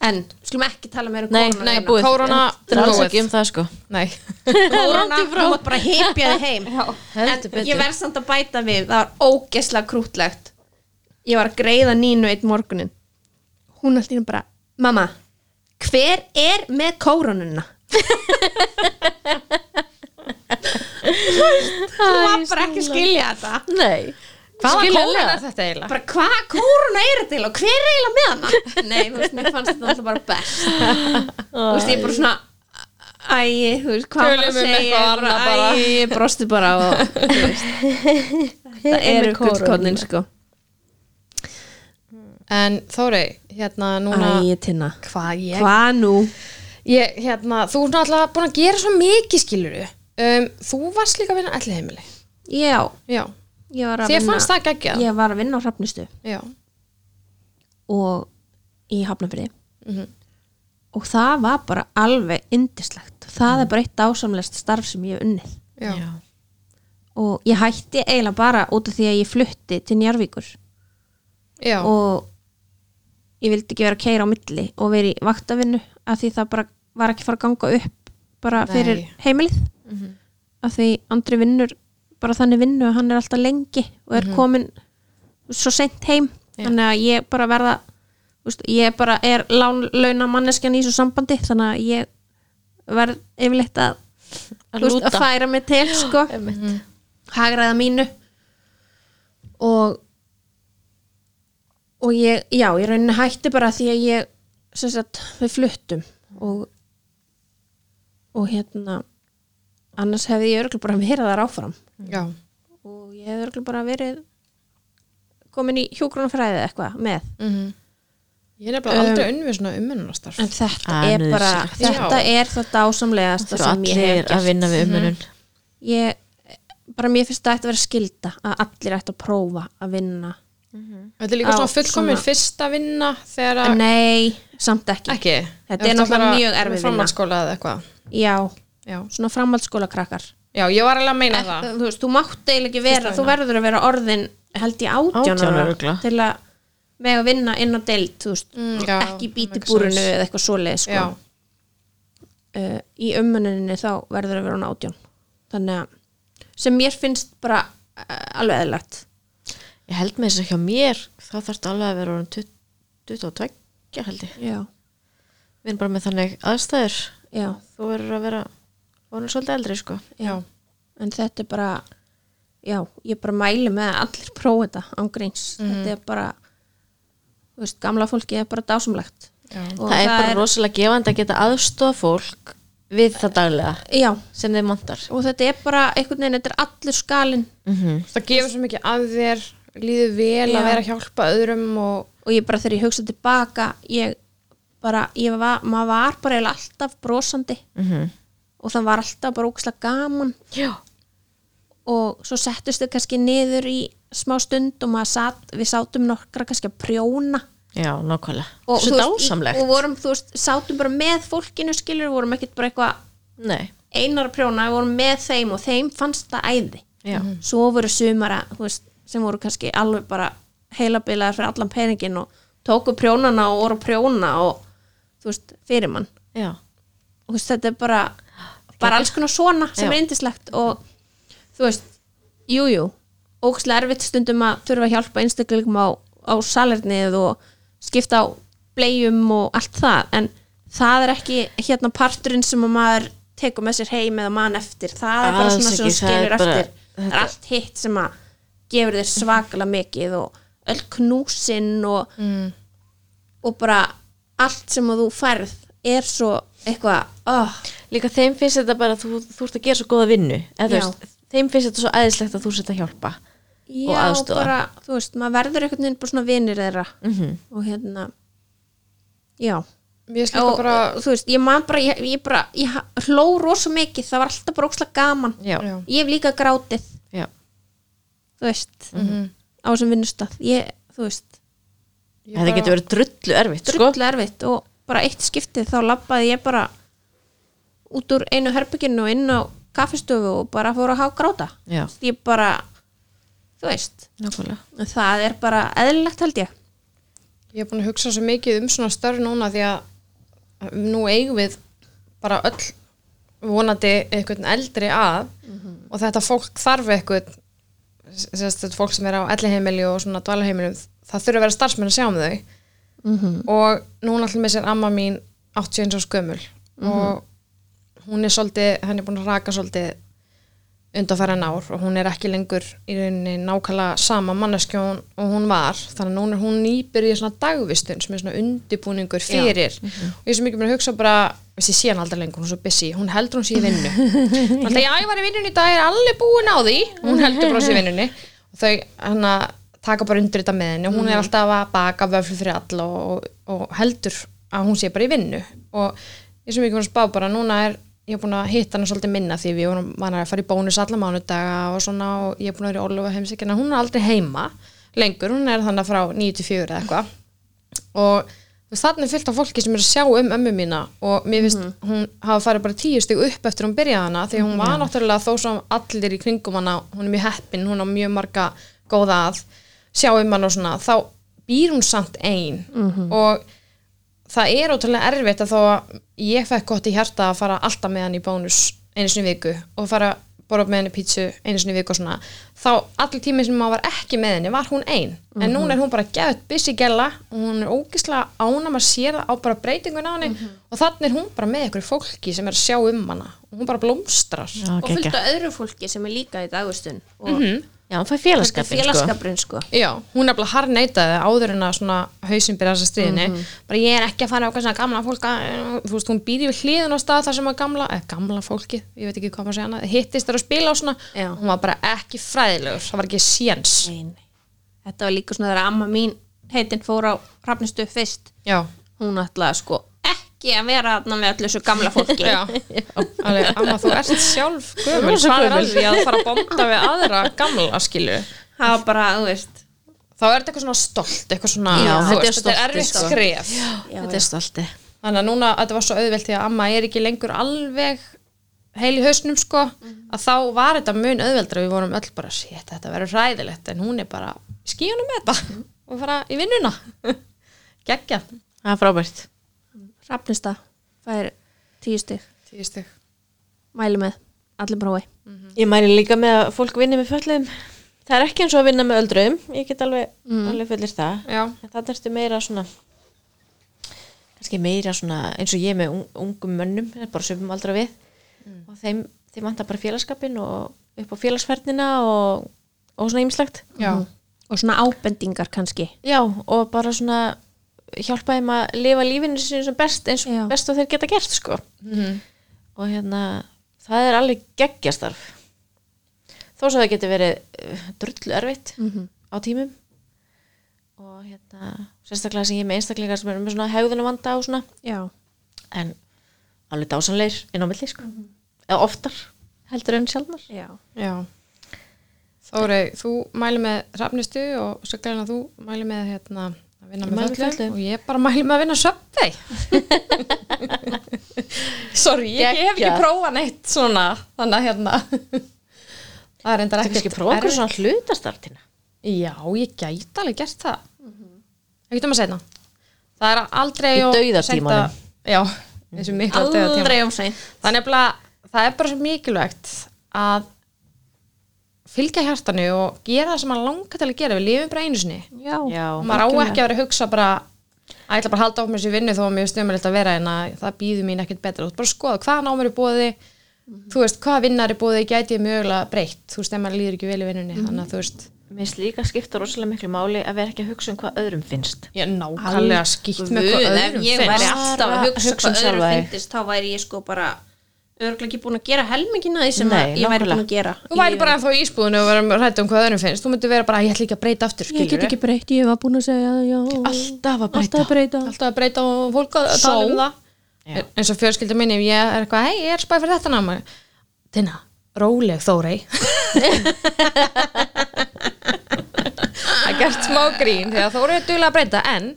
S1: en, skulum ekki tala meira um
S2: Mhm. nei,
S1: kóruna
S2: nei,
S1: hérna.
S2: búið
S3: Corona,
S2: það er alls
S3: búið.
S2: ekki um það sko
S3: Nei,
S1: kóruna, þú mátt bara heipja þig heim
S2: heldur
S1: en ég
S2: betur
S1: verð samt að bæta við það var ógesla krútlegt ég var að greiða nínu eitt morgunin hún alltaf hérna bara mamma, hver er með kórununa? þú var bara ekki að skilja þetta
S2: nei,
S3: hvaða
S2: Skiljanlega.
S3: kólan er þetta eiginlega?
S1: bara hvað kóruna er til og hver er eiginlega með hana? nei, þú veist, mér fannst þetta alltaf bara best þú veist, ég bara svona æ, þú veist, hvað
S3: Tölum
S1: var að
S3: um
S1: segja
S3: eitthvað annað bara.
S1: æ, ég brosti bara og þú veist, þetta eru gullkornin sko
S3: En Þórey, hérna núna
S1: Æ, tinna
S3: Hvað ég?
S1: Hvað nú?
S3: ég hérna, þú ert náttúrulega búin að gera svo mikið skiluru um, Þú varst líka að vinna allir heimili
S1: Já,
S3: Já,
S1: ég var að
S3: þér
S1: vinna
S3: fannst það geggja
S1: Ég var að vinna á hrafnustu
S3: Já,
S1: Mhm. og í hafnafriði og það var bara alveg indislegt hátt það er bara eitt ásamlegast starf sem ég hef unnið
S3: já,
S2: já.
S1: og ég hætti eiginlega bara út af því að ég flutti til Njarvíkur
S3: já,
S1: og ég vildi ekki vera að keira á milli og vera í vaktavinnu af því það bara var ekki fara að ganga upp bara
S3: Nei.
S1: fyrir heimilið af því andri vinnur bara þannig vinnu að hann er alltaf lengi og er komin svo sent heim þannig að ég bara verða úst, ég bara er lán, launa manneskjan í þessu sambandi þannig að ég verð yfirleitt að,
S2: Að
S1: þú veist, að
S2: lúta.
S1: færa mig til sko
S2: Mm.
S1: hagraða mínu og og ég, já, ég rauninni hætti bara því að ég sem sagt, við fluttum og og hérna annars hefði ég örgulega bara verið þar áfram
S3: já,
S1: og ég hefði örgulega bara verið komin í hjúgrunafræði eða eitthvað með
S3: ég er nefnilega aldrei unni við svona umönnunastarf
S1: en þetta
S2: Ah,
S1: er bara
S2: nauðsynlegt.
S1: þetta er það dásamlegasta
S2: Þurfa
S1: sem ég hef
S2: allir að
S1: gert Mhm.
S2: vinna við umönun
S1: ég, bara mér finnst þetta að vera skilda að allir ætti að prófa að vinna
S3: þetta er líka
S1: Á,
S3: svona fullkomin
S1: svona-
S3: fyrsta vinna þegar að
S1: Nei, samt ekki,
S3: ekki
S1: Þetta er náttúrulega mjög erfið vinna.
S3: framhaldsskóla eða eitthvað
S1: Já,
S3: já.
S1: svona framhaldsskóla krakkar
S3: já, ég var alveg að meina það
S1: Þú veist, þú mátt eiginlega ekki vera Þú verður að vera orðin held ég átján
S2: 18 ára
S1: ára
S2: örugglega.
S1: til að með að vinna inn á deild þú veist,
S3: Mm, já,
S1: ekki bíti
S3: makes
S1: búrinu
S3: sense.
S1: eða eitthvað svoleið sko.
S3: já,
S1: uh, í ummuninni þá verður að vera hún átján þannig að sem mér finnst bara uh, alveg eðlægt
S2: Ég held með þess að hjá mér þá þarfst alveg að vera orðin 20 22 held ég
S1: já,
S2: Við erum bara með þannig aðstæður
S1: já,
S2: Þú verður að vera orðin svolítið eldri sko
S1: já en þetta er bara já, ég bara mæli með að allir prófa þetta ángríns,
S2: Mhm.
S1: þetta er bara þú veist, gamla fólki er bara dásumlegt
S3: já,
S1: Og
S2: það er bara rosalega gefandi að geta aðstofa fólk við það daglega
S1: já,
S2: sem þið montar
S1: og þetta er bara einhvern veginn, þetta er allur skalinn
S3: það gefur svo mikið að þér líður vel
S1: Já.
S3: að vera að hjálpa öðrum og
S1: og ég bara þegar ég hugsa tilbaka ég bara, ég var, maður var bara eiginlega alltaf brosandi
S2: Mhm.
S1: og það var alltaf bara ókslega gaman
S2: Já,
S1: og svo settust þau kannski niður í smá stund og maður satt, við sátum nokkra kannski að prjóna
S2: já, nákvæmlega
S1: og,
S2: Svo
S1: þú veist, í-
S2: dásamlegt
S1: og vorum, þú veist, sátum bara með fólkinu skilur, vorum ekkert bara eitthvað
S2: Nei,
S1: einar að prjóna, við vorum með þeim og þeim fannst það æði
S2: já,
S1: svo voru sumara þú veist, sem voru kannski alveg bara heilabilaðar fyrir allan peningin og tóku prjónana og voru að prjóna og þú veist, fyrir mann
S2: já
S1: og þú veist, þetta er bara bara alls konar svona sem
S2: Já.
S1: er indislegt og þú veist, jújú ógæslega erfitt stundum að þurfa að hjálpa einstaklingum á, á salernið og skipta á bleium og allt það, en það er ekki hérna parturinn sem að maður tekur með sér heim eða mann eftir það er bara
S2: Alls
S1: svona sem þú
S2: ekki, það er
S1: skilur
S2: bara-
S1: eftir það er allt hitt sem að gefur þér svakalega mikið og öll knúsin og
S2: Mm.
S1: og bara allt sem að þú færð er svo eitthvað oh,
S2: Líka þeim finnst þetta bara að þú, þú ert að gera svo góða vinnu eða, þú
S1: Já.
S2: veist, Þeim finnst þetta svo æðislegt að þú sett að hjálpa
S1: já,
S2: aðstoða. Mhm.
S1: bara, þú veist, maður verður einhvern veginn bara svona vinir þeirra -hmm. og hérna já,
S3: mér skilst
S1: og
S3: það bara
S1: þú veist, ég man bara ég, ég bara, ég ha- hló rosa mikið það var alltaf bara ókslega gaman
S2: Já,
S3: Já.
S1: ég hef líka grátið,
S2: já,
S1: þú veist
S2: Mhm.
S1: á þessum vinnustaf, ég, þú veist
S3: ég
S2: þetta
S3: bara-
S2: getur verið drullu erfitt sko.
S1: drullu erfitt og bara eitt skiptið þá labbaði ég bara út úr einu herbygginu og inn á kaffistöfu og bara fór að hafa gráta
S2: Já,
S1: ég bara, þú veist
S2: nákvæmlega
S1: En það er bara eðlilegt held ég
S3: Ég er búin að hugsa svo mikið um svona störf núna því að nú eigum við bara öll vonandi einhvern eldri að og þetta fólk þarf einhvern sérst, þetta fólk sem er á elliheimili og svona dvalaheimilum, það þurfa að vera starfsmenn að sjá um þau og núna allir með sér amma mín 81 og skömmul og hún er svolítið, henn er búin að raka svolítið undanfæran ár og hún er ekki lengur í rauninni nákvæmlega sama manneskjón og hún var þannig að núna er hún nýbyrðið svona dagvistun sem er svona undibúningur fyrir og ég er svo mikið mér að hugsa bara veist ég sé hann aldrei lengur, hún er svo busy, hún heldur hún sé í vinnu Hún alltaf já ég var í vinnunni í dag ég er alveg búin á því, hún heldur bara hún sé í vinnunni og þau hann að taka bara undir þetta með henni og hún er alltaf að baka vöflu fyrir alla og, og heldur að hún sé bara í vinnu og ég er svo mikið mér að spá bara núna er ég er búin að hitta hana svolítið minna því við vorum manna að fara í bónus alla mánudaga og svona og ég er búin að vera í Ólofa heimsækjana hún er aldrei heima lengur, hún er þannig frá 9 til 4 eða eitthvað og þannig fyllt af fólki sem er að sjá um ömmu mína og mér finnst hún hafa farið bara tíu stig upp eftir hún byrjaði hana því hún var náttúrulega þó svo allir í kringum hana hún er mjög heppin, hún á mjög marga góða að sjá um hana og svona þá býr hún samt ein og það er ótrúlega erfitt að þó að ég fekk gott í hjarta að fara alltaf með hann í bónus einu sinni í viku og fara borða með henni pítsu einu sinni í viku og svona þá allir tími sem maður var ekki með henni var hún ein en núna er hún bara geðut busy gæla og hún er ógislega ánum að sér á bara breytingun á henni og þannig er hún bara með ykkur fólki sem er að sjá um hana og hún bara blómstrar
S2: Já,
S1: og fullt
S2: geggja.
S1: af öðru fólki sem er líka í dagustun og
S2: Já, hann fær
S1: þetta er
S2: félagskapin,
S1: félagskapurinn sko
S3: Já, hún er bara harneitaði áður en að svona hausinn byrja þessa stríðinni
S1: Mhm.
S3: bara ég er ekki að fara á eitthvað svona gamla fólk að- þú veist, hún býr við hliðin á stað þar sem að gamla, eh, gamla fólki, ég veit ekki hvað maður segja hana hittist þar að spila og svona
S1: Já.
S3: hún var bara ekki fræðilegur, það var ekki séns
S1: Nei, nei. þetta var líka svona þegar amma mín heitin fór á rafnistu fyrst
S3: Já,
S1: hún ætlaði sko ekki að vera þarna með öllu þessu gamla fólki
S3: já alveg, amma þú ert sjálf gömul,
S2: Rosa
S3: hvað er
S2: gömul.
S3: að því að fara að bonda við aðra gamla skilu
S1: það var bara, þú veist
S3: þá er þetta eitthvað svona stolt, eitthvað svona
S1: Já,
S3: þú
S1: þetta er
S3: veist, þetta er
S1: stoltið,
S3: erfitt
S1: sko.
S3: skref
S1: já,
S2: Þetta er stolti.
S3: þannig að núna þetta var svo auðvelt því að amma er ekki lengur alveg heil í hausnum sko að þá var þetta mun auðveldra við vorum öll bara, shit, þetta verður ræðilegt en hún er bara, skíunum með þetta og fara í vinnuna geggja,
S2: Það er frábært.
S1: rafnista, það er tíu stig
S3: tíu stygg
S1: mæli með, allir brói
S2: Ég mæli líka með að fólk vinni með föllum. Það er ekki eins og að vinna með öldrum. Ég get alveg, alveg fullir það.
S3: já,
S2: En það ertu meira svona, kannski meira svona eins og ég með un, ungum mönnum, það er bara söpum aldra við. Og þeim, þeim vantar bara félagskapin og upp á félagsferðnina og, og svona ýmislegt.
S3: já,
S1: og svona ábendingar kannski
S2: Já, og bara svona hjálpa þeim að lifa lífinu sinni sem best eins og
S1: Já.
S2: best og þeir geta gert sko
S3: Mhm.
S2: og hérna það er alveg geggjastarf þó svo það getur verið uh, drullu erfitt
S3: Mhm.
S2: á tímum og hérna sérstaklega sem ég er með einstaklingar sem eru með svona hegðunum vanda og svona
S1: já,
S2: en alveg dásanleir inn á milli sko
S3: Mhm.
S2: eða oftar heldur en sjálfnar
S1: já,
S3: já Þórei, þú mæli með rafnistu og svo gæðin að þú mæli með hérna, að vinna
S2: Ég mæli
S3: með
S2: með
S3: föllum
S2: fötluðum.
S3: og ég bara mæli með að vinna söpvei sorry, ég, ég hef
S2: Geggjað.
S3: ekki prófað neitt svona, þannig að hérna það er endar
S2: það er
S3: ekkert
S2: kannski prófa okkur
S3: erfitt.
S2: svona hlutastartina
S3: já, ég gæti alveg gert það ekki um að segna það er aldrei
S2: Í
S3: og
S2: dauðatímanum.
S3: seint að- já, eins og miklu á dauðatímanum.
S1: aldrei um sein
S3: Það er nefnilega, það er bara svo mikilvægt að fylgja hjartanu og gera það sem maður langar til að gera við lifum bara einu sinni
S1: já,
S2: Já.
S3: og maður á ekki að vera að hugsa bara að ég ætla bara að halda á mér sér vinnu þó að mér stöðum að vera en að það býður mín ekkert betra út bara skoða hvaðan á mér er bóði
S1: Mhm.
S3: þú veist, hvaða vinnar er bóði, gæti ég mögulega breytt þú veist, ef maður líður ekki vel í vinnunni
S1: Mhm.
S3: þannig að þú veist,
S2: Mér finnst líka skipta rosalega miklu máli að vera ekki að hugsa um hvað öðrum finnst.
S3: ég er nákvæmlega skýtt með
S1: Guð,
S3: hvað
S1: ef
S3: öðrum
S1: ég væri
S3: finnst
S1: alltaf að hugsa,
S2: Hugsa um
S1: hvað öðru
S2: sjálfa þig.
S1: fyndist þá væri ég sko bara örgulega ekki búin að gera helmingina því sem
S2: Nei,
S1: að ég væri
S2: nákvæmlega.
S1: búin að gera
S3: þú væri bara ennþá í ísbúðinu og verðum rætt um hvað öðrum finnst þú myndir vera bara, ég ætla ekki að breyta aftur
S1: ég get
S3: skilurðu."
S1: ekki breytt, ég var búin að segja já,
S2: Alltaf að
S1: alltaf að breyta
S3: alltaf að breyta og fólk að
S2: Só.
S3: tala um það
S2: Já.
S3: En- eins og fjölskyldur minni, ef ég er eitthvað hei, ég er spæð fyrir þetta náma Tina, róleg Þórei það er gert smá grín þegar Þórei er duðlega að breyta en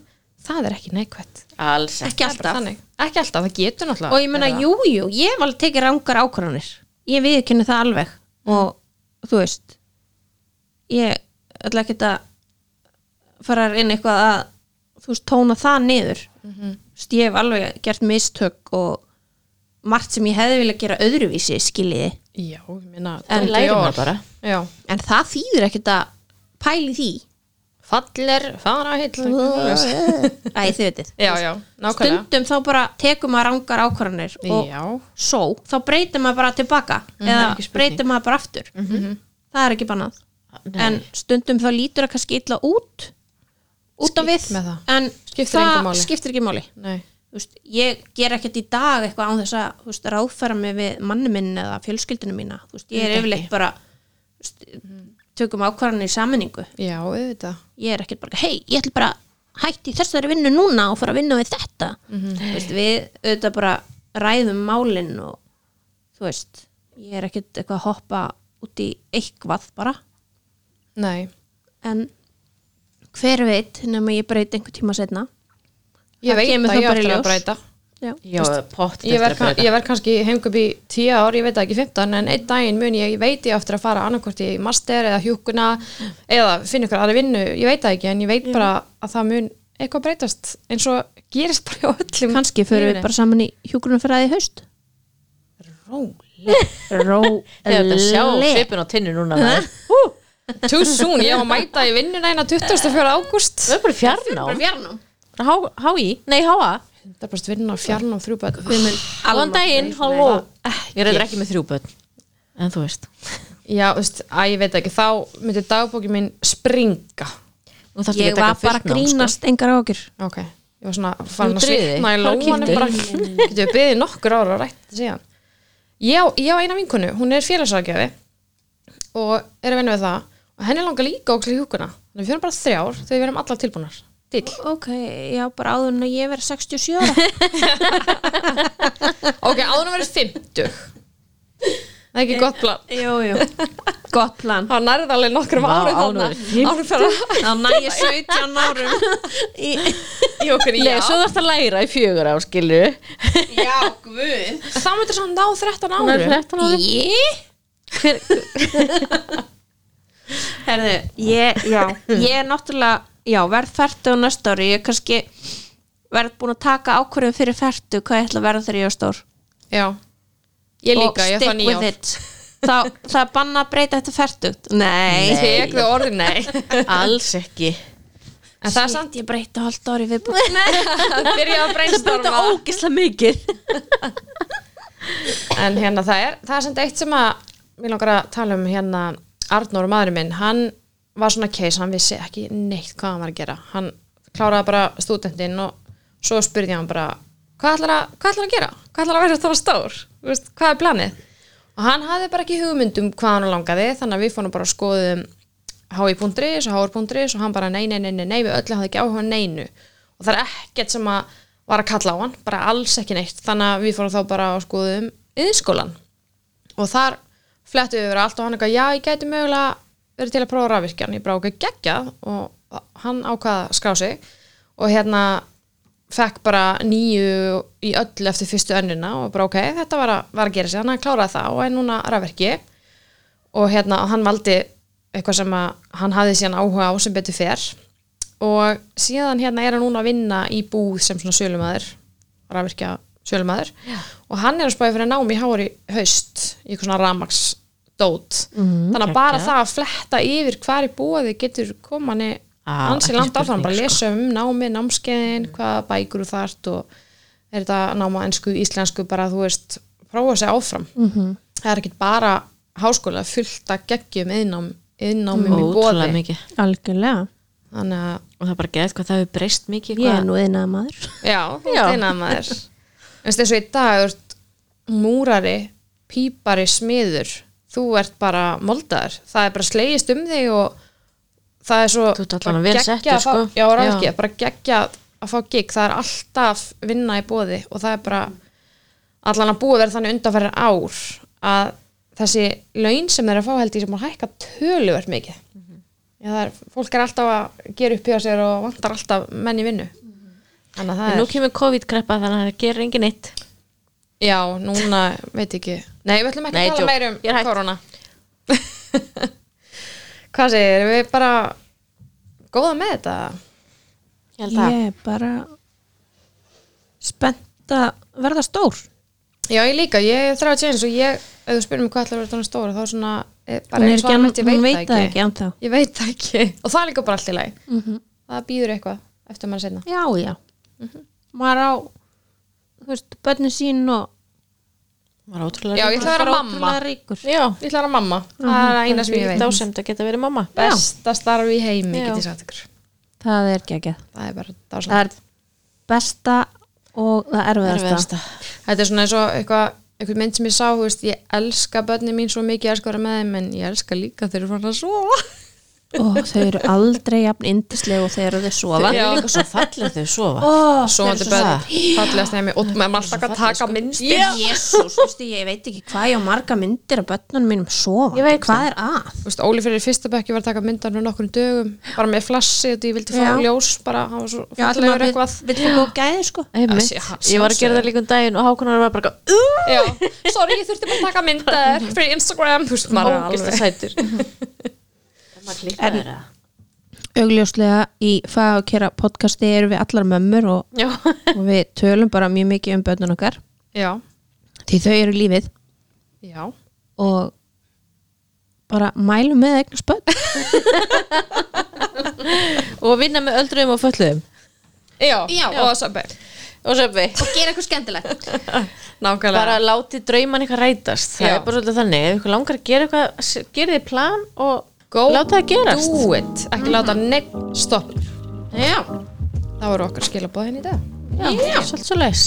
S3: það er ekki neikvætt
S2: Alls
S1: ekki
S2: ekki.
S3: Það er bara
S1: alltaf
S3: þannig. ekki alltaf, það getur náttúrulega
S1: og ég meina, jú, jú, ég hef alveg tekið rangar ákvarðanir ég viðkynni það alveg og þú veist ég ætla ekki að fara inn eitthvað að þú veist, tóna það niður mm ég hef alveg gert mistök og margt sem ég hefði vilja gera öðruvísi skiljiði,
S3: já, ég meina
S2: En
S3: Dolly
S2: lærum
S3: Orr.
S2: það bara.
S3: já.
S1: en það þýður ekkert að pæli því
S3: fallir, fara hitt
S1: Æ, þið veitir
S3: já, já, nákvæmlega
S1: stundum þá bara tekum maður rangar ákvarðanir og
S3: já, Mhm.
S1: svo, þá breytir maður bara tilbaka eða
S2: Ekki spurning.
S1: breytir maður bara aftur það er ekki bannað
S2: Nei.
S1: en stundum þá lítur það kannski illa út út á
S3: Skýrt
S1: við
S3: með það.
S1: en
S3: Skiptir engu
S1: það
S3: máli.
S1: skiptir ekki máli
S3: nei,
S1: Þú veist, ég ger ekkert í dag eitthvað án þess að þú veist, ráðfæra mig við manni minn eða fjölskyldinu mína Þú veist, ég er
S2: Ekki.
S1: yfirleitt bara þú veist,
S3: Mhm.
S1: tökum ákvarðanir í sammenningu
S3: já, auðvitað
S1: ég er ekkert bara, hei, ég ætla bara að hætti þessari vinnu núna og fara að vinna við þetta þú veist, við auðvitað bara ræðum málin og þú veist, ég er ekkert eitthvað að hoppa út í eitthvað bara
S3: nei,
S1: en hver veit nema ég breyti einhver tíma setna
S3: ég
S1: Það
S3: veit
S1: kemur þá
S3: að ég
S1: bara í
S3: ætla
S1: ljós.
S3: að breyta
S1: Já.
S2: Já, pott
S3: ég verð, kann, ég verð kannski hengup í 10 ár, ég veit það ekki 15 en einn daginn mun ég, ég veit ég aftur að fara annarkvort í master eða hjúkuna eða finna ykkur aðra vinnu, ég veit það ekki en ég veit bara að það mun eitthvað breytast eins og gerist bara hjá öllum
S1: kannski förum við bara saman í hjúgrunafræði haust
S2: Þegar þetta sjá
S1: Róli
S2: svipin á tinnu núna maður.
S3: too soon, ég á að mæta í vinnuna eina 24. ágúst
S2: Það er bara fjarnám
S1: Fjarnum
S2: Hái, nei háa
S3: það er bara vinna á fjarn og þrjú börn
S2: Allan daginn, halló
S3: Ekki.
S2: Ég er reyndar ekki með þrjú börn En þú veist
S3: já, þú veist, að ég veit ekki, þá myndi dagbókin mín springa
S2: Nú þarfst ekki
S1: Ég
S2: að taka
S1: var bara
S2: fullt
S1: að
S2: nám,
S1: grínast engar á okkur
S3: ok, ég var svona farin
S2: Nú
S3: að
S2: drýði.
S3: svitna í
S2: Bara
S3: lómanum
S2: kýldu.
S3: bara, getur við byggðið nokkur ára rætt síðan ég á, ég á eina vinkonu, hún er félagsraðgjafi og er að vinna við það og henni langar líka ókslega í hjúkuna þannig við fyrir bara þrjár þegar við erum allar tilbúnar Dill.
S1: Ok, já bara áður en að ég verð 67 ára
S3: ok, áður að vera 50 það er ekki gott plan
S1: Jú, jú, gott plan
S3: það nærði alveg nokkrum
S2: Vá,
S3: árum
S2: áður en
S3: þarna
S2: við erum
S3: árum fyrir
S1: Það nægir 17 árum í,
S3: í okkur í
S2: Nei, svo þarfst að læra í fjögur á skilu
S1: Já, guð
S3: þá myndir svona ná 13
S2: Hún er
S3: árum
S2: 13 ára
S1: Ég?
S2: Hver-
S1: Herðu, ég, já, ég er náttúrulega Já, verð færtu á næsta ári Ég kannski verð búin að taka ákvörðum fyrir færtu Hvað ég ætla að verða þegar ég er stór
S3: já, ég
S1: Og
S3: líka, ég
S1: stick
S3: ætla nýja
S1: with it. Þá, það er banna að breyta þetta færtugt Nei,
S3: tek þau orðin, nei
S2: Alls ekki
S3: en það er samt
S1: ég breyta hálft ári við búin
S3: að byrja að breynstorma
S2: Þetta ógislega mikið
S3: en hérna það er, það er sem eitt sem að mér langar að tala um hérna Arnór, maðurinn minn, hann var svona case, hann vissi ekki neitt hvað hann var að gera hann kláraði bara stúdentinn og svo spurði ég hann bara hvað ætlar að, hvað ætlar að gera? hvað ætlar að vera þetta stór? Þú Veist, hvað er planið? og hann hafði bara ekki hugmyndum hvað hann langaði þannig að við fórum bara að um skoðum hái.is og hái.is og hann bara nei, nei, nei, nei, nei, við öllu hafði ekki áhuga á neinu og það er ekkert sem að var að kalla á hann, bara alls ekki neitt þannig að við fórum þá bara að skoðum yðinskólan og þar flettu við yfir allt og hann eitthvað, já, ég gæti mögulega verið til að prófa rafvirkjan, ég bara okkur geggjað og hann ákvaða skrá sig og hérna fekk bara nýju í öllu eftir fyrstu önnuna og bara ok, þetta var að, var að gera sig, hann kláraði það og er núna rafvirkji og hérna og hann valdi eitthvað sem að hann hafði síðan áhuga á sem betur fer og síðan hérna er hann núna að vinna í búð sem svona sölumæður rafvirkja sölumæður og hann er að spáði fyrir námi hári haust í eitthvað svona ramaks þannig að bara
S2: Mhm, geggjað.
S3: það að fletta yfir hvar í búði getur komanni
S2: Á,
S3: ansi
S2: Ah, ekki
S3: langt
S2: spurning,
S3: áfram,
S2: sko.
S3: bara lesa um námi námskeiðin, hvaða bækur þú þart og er þetta náma ensku, íslensku bara þú veist, prófa sig áfram
S2: Mhm.
S3: -hmm. það er ekkit bara háskóla fullt að geggjum innám innnámum í
S2: Ótrúlega
S3: bóði
S2: mikið
S1: Algjörlega
S3: þannig að,
S2: Og það er bara geðið hvað það hefur breyst mikið
S1: Ég
S2: hvað-
S1: er nú einaða maður
S3: já,
S2: Já.
S3: þetta er maður en þess að í dag þú ert múrari, pípari smiður, þú ert bara moldaður, það er bara slegist um þig og það er svo
S2: Þú ert allan
S3: bara
S2: vel
S3: geggjað
S2: settur,
S3: að fá-
S2: sko.
S3: já, ráð
S2: Já.
S3: ekki, bara geggja að fá gig það er alltaf vinna í bóði og það er bara allan að búið verið þannig undanferðin ár að þessi laun sem þeir eru að fá held ég sem að hækka töluvert mikið Já, það er, fólk er alltaf að gera upp hjá sér og vantar alltaf menn í vinnu þannig að
S2: En
S3: það er
S2: nú kemur COVID-kreppa þannig að það gerir engin eitt
S3: já, núna, veit ekki nei, við ætlum ekki
S2: Nei,
S3: að
S2: djók.
S3: tala meir um
S2: Ég er hætt.
S3: korona hvað segir, erum við bara góða með þetta
S2: Ég held að
S1: Ég er bara spennt að verða stór
S3: já, ég líka, ég er þrjá tjens og ég ef þú spyrir mig hvað ætlar að vera þannig stóra þá er svona, eh, bara
S1: Hún er
S3: eins og
S1: ekki,
S3: almennt, ég
S1: hún veit það ekki ennþá
S3: ég veit það ekki og það er líka bara allt í lagi það býður eitthvað eftir maður setna
S1: Já, já
S3: Mhm.
S1: Maður á, þú veist, börnin sín og
S2: Var ótrúlega
S3: já, ég ætla að vera
S1: bara
S3: mamma
S1: ótrúlega ríkur
S2: Já,
S3: ég ætla að vera mamma, það er eina sem ég veit
S2: dásemt að geta verið mamma
S3: besta starf í heimi,
S2: Já.
S3: get ég sagt ykkur
S1: Það er geggjað
S3: það er bara
S1: Það
S3: dásamt
S1: er besta og það erfiðasta
S2: Erfiðasta.
S3: þetta er svona eins og eitthvað eitthvað mynd sem ég sá, þú veist, ég elska börnin mín svo mikið, ég elska að vera með þeim en ég elska líka þegar þeir eru fann að sofa
S1: og þau eru aldrei jafn indisleg og þegar þau sofa
S2: Það er líka svo falleg þau sofa
S1: oh,
S3: Sofandi börn, fallegast nefni og maður er sko. alltaf að taka minnst
S1: Jésús, ég veit ekki hvað ég á marga myndir af börnunum mínum sofa hvað er að?
S3: Óli fyrir fyrsta bekki var að taka myndar nú nokkrum dögum, bara með flassi og því ég vildi fá
S1: Já.
S3: ljós, bara hann var svo
S1: Já, allir
S3: fallegur
S1: maður
S3: eitthvað
S1: vill- vill fá góð gæði sko
S2: Einmitt.
S3: sé- ha-
S2: Ég var að gera það líka um daginn og hákonar var bara eitthvað, "Ú,
S3: Já, sorry, ég þurfti bara að taka myndar fyrir Instagram, þú veist, maður er
S2: ógeðslega
S3: alveg
S2: sætur maður klikkar
S1: En-
S2: þeirra
S1: Augljóslega í fagakera podcasti erum við allar mömmur og,
S2: Já,
S1: og við tölum bara mjög mikið um börnun okkar
S3: Já,
S1: því þau eru lífið
S3: já,
S1: og bara mælum með eignar spöld
S2: og vinna með öldruðum og fölluðum
S3: já,
S1: Já.
S3: og það sabbi
S2: og söpvi,
S1: og gera eitthvað skemmtilegt
S2: bara
S3: Nákvæmlega,
S2: láti drauman eitthvað rætast það
S3: Já.
S2: er bara svolítið þannig, ef ykkur langar að gera eitthvað gera þið plan og
S3: Go
S2: láta það gerast
S3: do it, ekki láta neitt stopp
S1: Já,
S3: Það voru okkar skilabóðin í dag
S2: Já, svolítið svo leis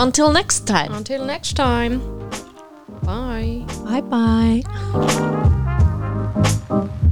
S2: Until next time
S3: Until next time Bye
S1: bye bye